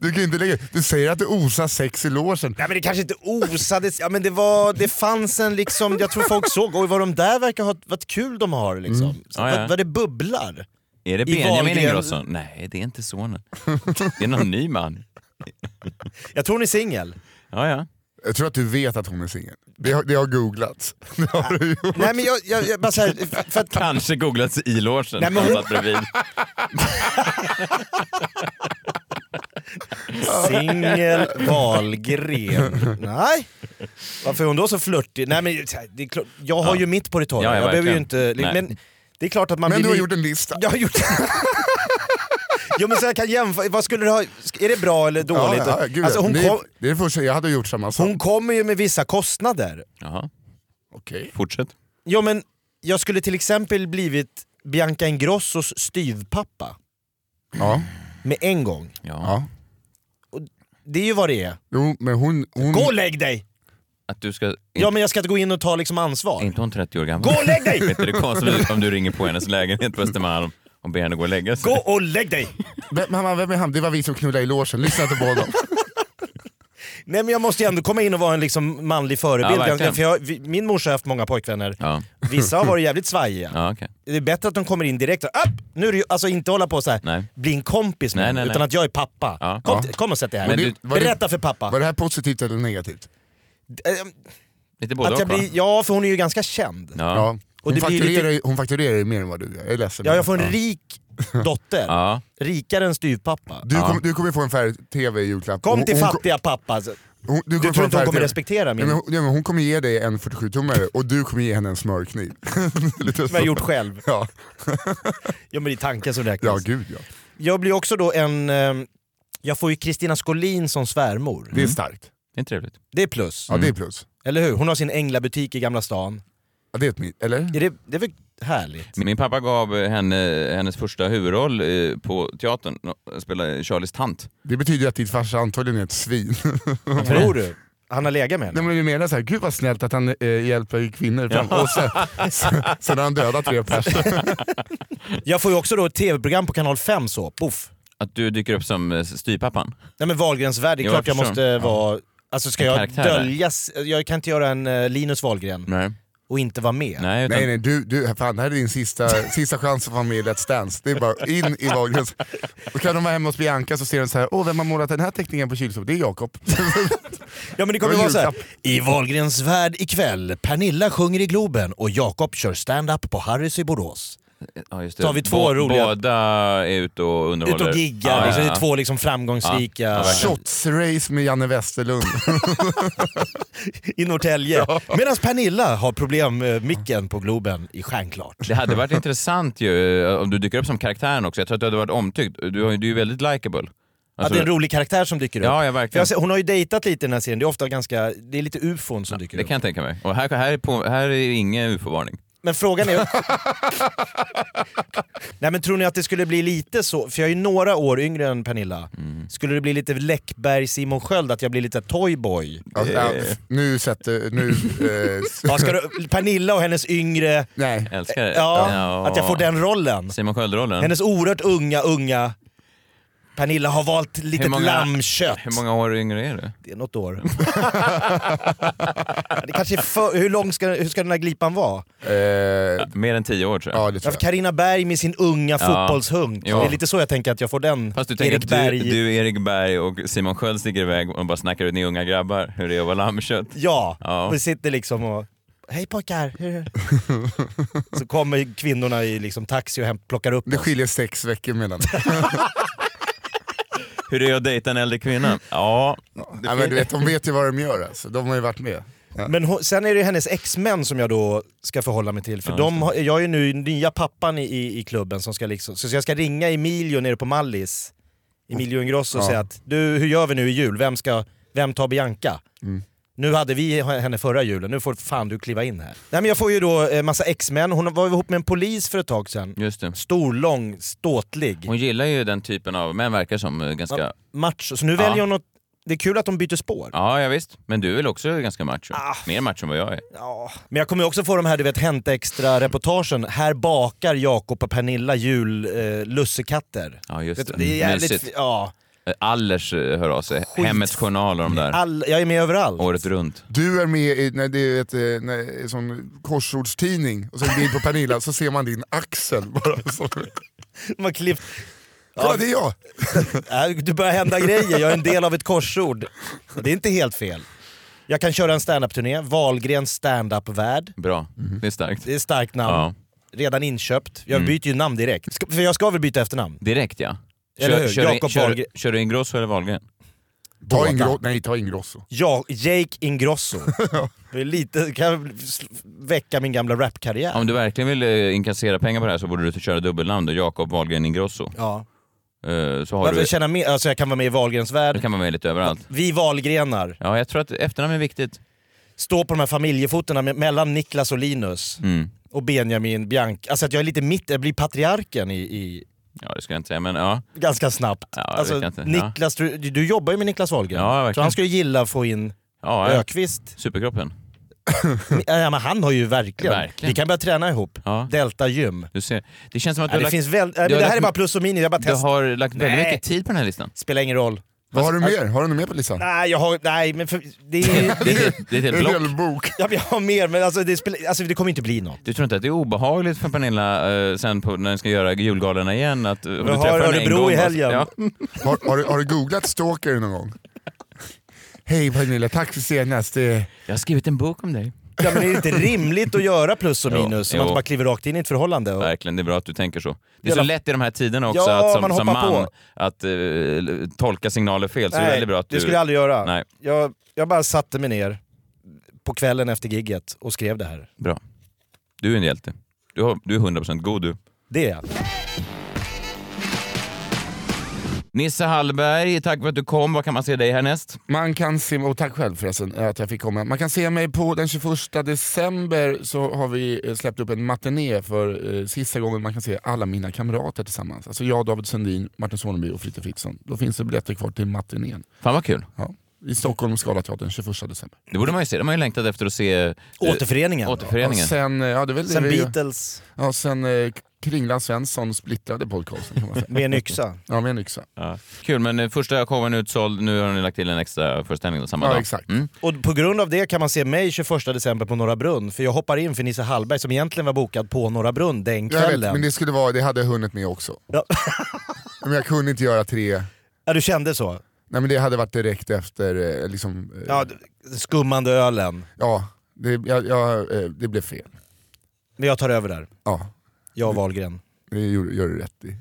Speaker 6: Du kan ju inte lägga... Du säger att du osar sex i logen.
Speaker 7: Nej men det kanske inte osades, ja, men det, var, det fanns en liksom, jag tror folk såg, oj vad de där verkar ha, vad kul de har liksom. Så,
Speaker 5: Mm. Ja, ja.
Speaker 7: Vad, vad det bubblar.
Speaker 5: Är det
Speaker 7: I
Speaker 5: Benjamin
Speaker 7: Wahlgren-
Speaker 5: Ingrosso? Nej, det är inte sonen. Det är någon ny man.
Speaker 7: Jag tror hon är singel.
Speaker 5: Ja, ja.
Speaker 6: Jag tror att du vet att hon är singel. Det har, det har googlats. Det har du gjort.
Speaker 7: Nej men jag, jag, jag bara så här, för att,
Speaker 5: Kanske googlats i logen.
Speaker 7: Nej, men
Speaker 5: Han
Speaker 7: hon-
Speaker 5: satt bredvid.
Speaker 7: Singel Wahlgren. Nej. Varför är hon då så flörtig? Nej, men, det är klart, jag har ju mitt på det torra.
Speaker 5: Ja, ja,
Speaker 7: jag behöver ju
Speaker 5: verkligen.
Speaker 7: inte...
Speaker 5: Nej.
Speaker 7: Men det är klart att man
Speaker 6: Men
Speaker 7: blir...
Speaker 6: du har
Speaker 7: li-
Speaker 6: gjort en lista.
Speaker 7: Jag har gjort... jo men så jag kan jämföra, vad skulle du ha... Är det bra eller dåligt?
Speaker 6: Ja, ja, gud,
Speaker 7: alltså, hon,
Speaker 6: det,
Speaker 7: kom,
Speaker 6: det är det första, jag hade gjort samma sak.
Speaker 7: hon kommer ju med vissa kostnader.
Speaker 5: Jaha,
Speaker 6: Okej.
Speaker 5: fortsätt.
Speaker 7: Jo men, jag skulle till exempel blivit Bianca Ingrossos styvpappa
Speaker 6: Ja,
Speaker 7: med en gång.
Speaker 5: Ja.
Speaker 6: ja.
Speaker 7: Det är ju vad det är.
Speaker 6: Jo, men hon... hon
Speaker 7: Gå och lägg dig!
Speaker 5: Att du ska...
Speaker 7: Ja men jag ska inte gå in och ta liksom
Speaker 5: Är
Speaker 7: ansvar.
Speaker 5: inte hon 30 år gammal?
Speaker 7: Gå och lägg dig!
Speaker 5: Vet du, det är konstigt om du ringer på hennes lägenhet på Östermalm och ber henne gå och lägga sig.
Speaker 7: Gå och lägg dig!
Speaker 6: Vem, mamma, vem är han? Det var vi som knullade i logen, lyssna inte på honom.
Speaker 7: Nej men jag måste ju ändå komma in och vara en liksom
Speaker 5: Ja,
Speaker 7: manlig förebild.
Speaker 5: verkligen.
Speaker 7: för jag, vi, min morsa har haft många pojkvänner.
Speaker 5: Ja,
Speaker 7: Vissa har varit jävligt svajiga.
Speaker 5: ja okej.
Speaker 7: Det är bättre att de kommer in direkt och upp! Nu är det ju, alltså inte hålla på så här.
Speaker 5: Nej.
Speaker 7: bli en kompis med
Speaker 5: Nej,
Speaker 7: mig,
Speaker 5: nej, nej.
Speaker 7: utan att jag är pappa.
Speaker 5: Ja.
Speaker 7: Kom, kom och sätt dig här.
Speaker 5: Men
Speaker 6: det-
Speaker 5: du-
Speaker 6: var det-
Speaker 7: Berätta för pappa.
Speaker 6: Var det här positivt eller negativt?
Speaker 7: Eh,
Speaker 5: Lite både
Speaker 7: Att jag
Speaker 5: och va?
Speaker 7: blir, ja, för hon är ju ganska känd. Ja,
Speaker 5: Ja.
Speaker 6: Ja. Hon,
Speaker 7: det blir
Speaker 6: fakturerar, ju- hon fakturerar ju mer än vad du gör, jag är ledsen.
Speaker 7: jag får en rik dotter.
Speaker 5: Ja.
Speaker 7: Rikare än styvpappa.
Speaker 6: Du, kom, du kommer få en färg-tv i julklapp.
Speaker 7: Kom
Speaker 6: Hon-
Speaker 7: till
Speaker 6: hon-
Speaker 7: fattiga pappa. alltså.
Speaker 6: hon- du, kommer
Speaker 7: tror inte
Speaker 6: få en
Speaker 7: hon
Speaker 6: färg-tv.
Speaker 7: kommer respektera
Speaker 6: Nej,
Speaker 7: min-
Speaker 6: men hon, nej, men hon kommer ge dig en 47-tummare och du kommer ge henne en smörkniv. Lite
Speaker 7: Som jag har gjort själv.
Speaker 6: Ja,
Speaker 7: Ja men det är tanken som räknas.
Speaker 6: ja gud ja.
Speaker 7: Jag blir också då en... eh, Jag får ju Kristina Skolin som svärmor.
Speaker 6: Det är starkt.
Speaker 5: Det är trevligt.
Speaker 7: Det är plus.
Speaker 6: Ja, det är plus.
Speaker 7: Eller hur? Hon har sin änglabutik i Gamla stan.
Speaker 6: Ja, det är ett mitt, eller?
Speaker 7: Är det, det är väl härligt?
Speaker 5: Min min pappa gav henne hennes första huvudroll eh, på teatern. Hon Spelade Charlies tant.
Speaker 6: Det betyder ju att din farsa antagligen är ett svin.
Speaker 7: Tror du? Han har legat med henne?
Speaker 6: Nej, men vi menar såhär, gud vad snällt att han eh, hjälper kvinnor. Fram.
Speaker 7: Ja.
Speaker 6: Och sen, sen, sen har han dödat tre personer.
Speaker 7: Jag får ju också då ett tv-program på kanal 5 så, poff.
Speaker 5: Att du dyker upp som eh, styvpappan.
Speaker 7: Nej men Wahlgrens värld, det är
Speaker 5: Jo,
Speaker 7: klart
Speaker 5: jag
Speaker 7: jag
Speaker 5: förstår.
Speaker 7: måste vara... Alltså ska
Speaker 5: En
Speaker 7: jag
Speaker 5: karaktär där.
Speaker 7: döljas? Jag kan inte göra en eh, Linus Wahlgren
Speaker 5: Nej.
Speaker 7: och inte vara med.
Speaker 5: Nej, utan-
Speaker 6: Nej nej, du, du, fan, det här är din sista, sista chans att vara med i Let's Dance. Det är bara in i Wahlgrens. Då kan de vara hemma hos Bianca så ser de så här, åh vem har målat den här teckningen på kylskåpet? Det är Jakob.
Speaker 7: Ja men det kommer
Speaker 6: Det
Speaker 7: ju
Speaker 6: var
Speaker 7: vara såhär,
Speaker 6: julklapp.
Speaker 7: i Wahlgrens värld ikväll, Pernilla sjunger i Globen och Jakob kör stand-up på Harrys i Borås.
Speaker 5: Ja, just
Speaker 7: Så har vi två roliga-
Speaker 5: Båda är ute och
Speaker 7: Ut
Speaker 5: underhåller.
Speaker 7: och giggar,
Speaker 5: Ja,
Speaker 7: liksom,
Speaker 5: ja,
Speaker 7: det är
Speaker 5: ja.
Speaker 7: två liksom framgångsrika...
Speaker 5: Ja, ja, verkligen.
Speaker 6: Shots-race med Janne Westerlund.
Speaker 7: I Norrtälje. Medan Pernilla har problem med micken på Globen i Stjärnklart.
Speaker 5: Det hade varit intressant ju eh, om du dyker upp som karaktären också. Jag tror att du hade varit omtyckt. Du, har ju- du är ju väldigt likable.
Speaker 7: att
Speaker 5: Alltså-
Speaker 7: det är en rolig karaktär som dyker upp.
Speaker 5: Ja, ja,
Speaker 7: För jag
Speaker 5: verkligen.
Speaker 7: ser, hon har ju dejtat lite i den här serien, det är ofta ganska, det är lite ufon som dyker
Speaker 5: Det
Speaker 7: upp.
Speaker 5: kan jag tänka mig. Och här, här, är, på, här är ingen ufo-varning.
Speaker 7: Men frågan är... Nej men tror ni att det skulle bli lite så, för jag är ju några år yngre än Pernilla.
Speaker 5: Mm.
Speaker 7: Skulle det bli lite Läckberg, Simon Sköld, att jag blir lite toyboy?
Speaker 6: Ja, ja, nu sätter... Nu, eh, s-
Speaker 7: Ja, ska du, Pernilla och hennes yngre...
Speaker 6: Nej.
Speaker 5: Älskar det.
Speaker 7: Ja, att jag får den rollen.
Speaker 5: Simon Sköld-rollen.
Speaker 7: Hennes oerhört unga, unga... Pernilla har valt litet lammkött.
Speaker 5: Hur många år yngre är du?
Speaker 7: Det är något år. det kanske är för, hur lång ska, hur ska den här glipan vara?
Speaker 6: eh,
Speaker 5: Mer än tio år tror jag.
Speaker 6: ja, det
Speaker 7: Ja,
Speaker 6: tror
Speaker 7: för
Speaker 6: jag.
Speaker 7: Carina Berg med sin unga
Speaker 5: Ja.
Speaker 7: fotbollshunk.
Speaker 5: Ja.
Speaker 7: Det är lite så jag tänker att jag får den.
Speaker 5: Fast du tänker
Speaker 7: Erik
Speaker 5: att du,
Speaker 7: Berg.
Speaker 5: du, Erik Berg och Simon Sköld sticker iväg och bara snackar ut ni unga grabbar hur det är att vara lammkött.
Speaker 7: Ja,
Speaker 5: Ja.
Speaker 7: vi sitter liksom och... Hej pojkar! hur- Så kommer kvinnorna i liksom taxi och hem, plockar upp
Speaker 6: Det
Speaker 7: oss.
Speaker 6: skiljer sex veckor mellan.
Speaker 5: Hur är det att dejta en äldre kvinna? Ja,
Speaker 6: ja, men du vet, de vet ju vad de gör alltså. De har ju varit med. Ja.
Speaker 7: Men hon, sen är det hennes ex-män som jag då ska förhålla mig till. För
Speaker 5: Ja,
Speaker 7: de har, jag är ju nu nya pappan i, i, i klubben som ska liksom... Så jag ska ringa Emilio nere på Mallis, Emilio Ingrosso, och
Speaker 6: Ja.
Speaker 7: säga att du, hur gör vi nu i jul? Vem, ska, vem tar Bianca?
Speaker 5: Mm.
Speaker 7: Nu hade vi henne förra julen, nu får fan du kliva in här. Nej men jag får ju då eh, massa ex-män, hon var ju ihop med en polis för ett tag sedan.
Speaker 5: just det.
Speaker 7: Stor, lång, ståtlig.
Speaker 5: Hon gillar ju den typen av män verkar som eh, ganska...
Speaker 7: Macho. Så nu
Speaker 5: Ja.
Speaker 7: väljer hon något... Det är kul att de byter spår.
Speaker 5: Ja, ja visst. Men du är väl också ganska macho? Mer macho än vad jag är.
Speaker 7: Ah, Ja, men jag kommer ju också få de här du vet Hänt Extra-reportagen. Här bakar Jakob och Pernilla jul eh, lussekatter.
Speaker 5: Ja, just
Speaker 7: Vet du,
Speaker 5: det.
Speaker 7: det är jävligt...
Speaker 5: Mysigt.
Speaker 7: Ja,
Speaker 5: Eh, Allers eh, hör av sig. Hemmets Journal och de där.
Speaker 7: all, jag är med överallt.
Speaker 5: Året runt.
Speaker 6: Du är med i när det är ett, eh, när, en sån korsordstidning och så en bild på Pernilla så ser man din axel bara. Så.
Speaker 7: Man klippt.
Speaker 6: Kolla det är jag!
Speaker 7: Äh, Du börjar hända grejer, jag är en del av ett korsord. Och Det är inte helt fel. Jag kan köra en standup-turné, Wahlgrens standup-värld.
Speaker 5: Bra.
Speaker 6: Mhm.
Speaker 5: Det är starkt.
Speaker 7: Det är ett starkt namn.
Speaker 5: Ja. Mm.
Speaker 7: Redan inköpt. Jag byter ju namn direkt. Ska- För jag ska väl byta efternamn?
Speaker 5: Direkt ja.
Speaker 7: Eller hur?
Speaker 5: kör,
Speaker 7: Jakob
Speaker 5: kör,
Speaker 7: Wahlgren.
Speaker 5: kör, du Ingrosso eller Wahlgren?
Speaker 6: Ta
Speaker 7: Båda.
Speaker 6: Ingro, nej, ta Ingrosso.
Speaker 7: Ja, Jake Ingrosso. Det är lite, kan jag sl- väcka min gamla rapkarriär.
Speaker 5: Om du verkligen vill eh, inkassera pengar på det här så borde du köra dubbelnamn då. Jakob Wahlgren Ingrosso.
Speaker 7: Ja.
Speaker 5: Eh, Så har
Speaker 7: Varför
Speaker 5: du...
Speaker 7: känna mer? Alltså jag kan vara med i Wahlgrens
Speaker 5: Det
Speaker 7: värld.
Speaker 5: kan man med lite överallt.
Speaker 7: Vi Wahlgrenar.
Speaker 5: Ja, jag tror att efternamn är viktigt.
Speaker 7: Stå på de här familjefotona me- mellan Niklas och Linus.
Speaker 5: Mm.
Speaker 7: Och Benjamin, Bianca. Alltså att jag är lite mitt, jag blir patriarken i, i
Speaker 5: Ja, det ska jag inte säga, men ja.
Speaker 7: ganska snabbt.
Speaker 5: Ja, det
Speaker 7: alltså,
Speaker 5: vet jag inte. Ja.
Speaker 7: Niklas, du, du jobbar ju med Niklas Wahlgren.
Speaker 5: Ja, verkligen.
Speaker 7: så han skulle gilla att få in
Speaker 5: ja, ja.
Speaker 7: Ökvist.
Speaker 5: Superkroppen.
Speaker 7: Ja, men han har ju verkligen.
Speaker 5: Verkligen.
Speaker 7: Vi kan börja träna ihop.
Speaker 5: Ja.
Speaker 7: Delta gym.
Speaker 5: Du ser. Det känns som att du
Speaker 7: Ja,
Speaker 5: har
Speaker 7: det,
Speaker 5: lagt,
Speaker 7: finns väl, nej,
Speaker 5: du
Speaker 7: men
Speaker 5: har
Speaker 7: det här
Speaker 5: lagt-
Speaker 7: är bara plus och minus, jag bara
Speaker 5: du
Speaker 7: testar.
Speaker 5: har lagt väldigt
Speaker 7: Nej.
Speaker 5: mycket tid på den här listan.
Speaker 7: Spelar ingen roll.
Speaker 6: Vad har du mer? Har du något mer på listan?
Speaker 7: Nej, jag har... Nej, men för, det är...
Speaker 5: Det är, ett- det är
Speaker 6: En
Speaker 5: ett helt block.
Speaker 6: hel bok.
Speaker 7: Ja, men jag har mer, men alltså det, spelar, alltså det kommer inte bli något.
Speaker 5: Du tror inte att det är obehagligt för Pernilla eh, sen på, när den ska göra julgalorna igen? Att,
Speaker 7: Jag har Örebro i helgen.
Speaker 5: Ja.
Speaker 6: Har, har, du- har du googlat stalker någon gång? Hej Pernilla, tack för senast. Eh, Det,
Speaker 5: Jag har skrivit en bok om dig.
Speaker 7: Ja, men är det inte rimligt att göra plus och
Speaker 5: Jo,
Speaker 7: minus? Så man
Speaker 5: jo.
Speaker 7: inte bara kliver rakt in i ett förhållande. Och,
Speaker 5: Verkligen, det är bra att du tänker så. Det är så
Speaker 7: Jävla-
Speaker 5: lätt i de här tiderna också
Speaker 7: Ja,
Speaker 5: att som
Speaker 7: man
Speaker 5: man, som
Speaker 7: hoppar
Speaker 5: man
Speaker 7: på.
Speaker 5: att eh, tolka signaler fel. Så det är väldigt bra att du...
Speaker 7: det skulle jag aldrig göra.
Speaker 5: Nej.
Speaker 7: Jag, jag bara satte mig ner på kvällen efter gigget och skrev det här.
Speaker 5: Bra. Du är en hjälte. Du, har, du är 100% god du.
Speaker 7: Det är jag.
Speaker 5: Nisse Hallberg, tack för att du kom. Var kan man se dig härnäst?
Speaker 6: Man kan se, och tack själv förresten eh, att jag fick komma. Man kan se mig på den 21 december så har vi eh, släppt upp en matiné för eh, sista gången man kan se alla mina kamrater tillsammans. Alltså jag, David Sundin, Martin Soneby och Fritte Fritzson. Då finns det biljetter kvar till matinén.
Speaker 5: Fan vad kul.
Speaker 6: Ja. I Stockholm Scalateatern 21 december.
Speaker 5: Det borde man ju se. De har ju längtat efter att se... eh,
Speaker 7: Återföreningen.
Speaker 5: Återföreningen.
Speaker 6: Ja, sen eh, ja, det är väl
Speaker 7: Sen
Speaker 6: det vi-
Speaker 7: Beatles.
Speaker 6: Ja, sen eh, Kringland Svensson splittrade podcasten kan man säga.
Speaker 7: Med en yxa.
Speaker 6: Ja, med en yxa.
Speaker 5: Ja. Kul, men eh, första showen är utsåld. Nu har ni lagt till en extra föreställning samma
Speaker 6: Ja,
Speaker 5: dag.
Speaker 6: exakt.
Speaker 5: Mm.
Speaker 7: Och på grund av det kan man se mig 21 december på Norra Brunn, för jag hoppar in för Nisse Hallberg som egentligen var bokad på Norra Brunn den
Speaker 6: Jag vet,
Speaker 7: kvällen.
Speaker 6: men det skulle vara, det hade jag hunnit med också. men jag kunde inte göra tre...
Speaker 7: Ja, du kände så?
Speaker 6: Nej men det hade varit direkt efter eh, liksom... eh,
Speaker 7: Ja, d- skummande ölen.
Speaker 6: Ja, det, jag, jag, eh, det blev fel.
Speaker 7: Men jag tar över där.
Speaker 6: Ja.
Speaker 7: Jag och Wahlgren.
Speaker 6: Det gör, gör du rätt i.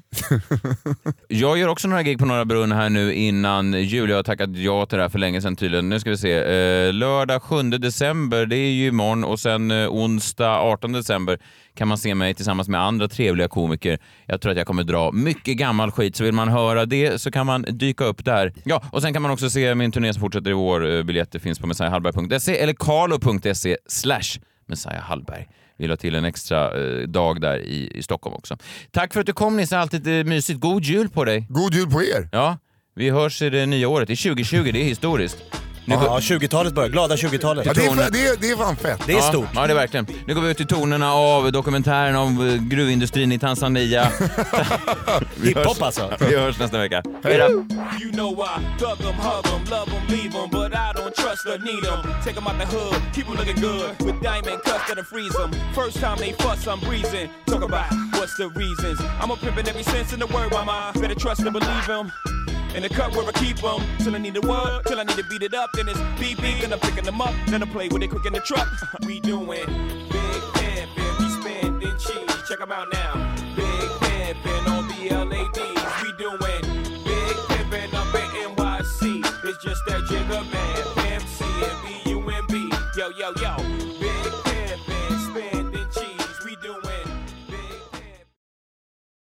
Speaker 5: Jag gör också några gig på Norra Brunn här nu innan jul. Jag har tackat ja till det här för länge sedan tydligen. Nu ska vi se. Eh, lördag 7 december, det är ju imorgon och sen eh, onsdag 18 december kan man se mig tillsammans med andra trevliga komiker. Jag tror att jag kommer dra mycket gammal skit, så vill man höra det så kan man dyka upp där. Ja, och sen kan man också se min turné som fortsätter i vår. Eh, Biljetter finns på messiahallberg.se eller carlo.se slash messiahallberg. Vi la till en extra eh, dag där i, i Stockholm också. Tack för att du kom Nisse, alltid eh, mysigt. God jul på dig!
Speaker 6: God jul på er!
Speaker 5: Ja, vi hörs i det nya året. Det är 2020, det är historiskt. Nu går-
Speaker 7: Ja, 20-talet börjar. Glada 20-talet.
Speaker 5: Ja, det är fan-
Speaker 6: det, är, det är fan fett.
Speaker 7: Det är
Speaker 5: ja,
Speaker 7: stort.
Speaker 5: Ja, det är verkligen. Nu går vi ut i tonerna av dokumentären om eh, gruvindustrin i Tanzania. Vi hörs-
Speaker 7: Hiphop alltså.
Speaker 5: Vi hörs nästa vecka. Hej då!
Speaker 14: You know I thug them, hug them, love them, leave them, but I don't trust or need them. Take them out the hood, keep them looking good, with diamond cuffs that'll freeze them. First time they fuss, I'm breezing. Talk about what's the reasons. I'm a pimpin' every sense in the word, my mind. Better trust and believe him. In the cup where I keep 'em, till I need the word, till I need to beat it up. Then it's beep beep, then I'm picking them up, then I play with it quick in the truck. we doing big pimpin', we spendin' cheese. Check 'em out now. Big pimpin' on BLADs, we doing Big pimpin' up at NYC. It's just that jigger man. MC and B-U-M-B. Yo, yo, yo.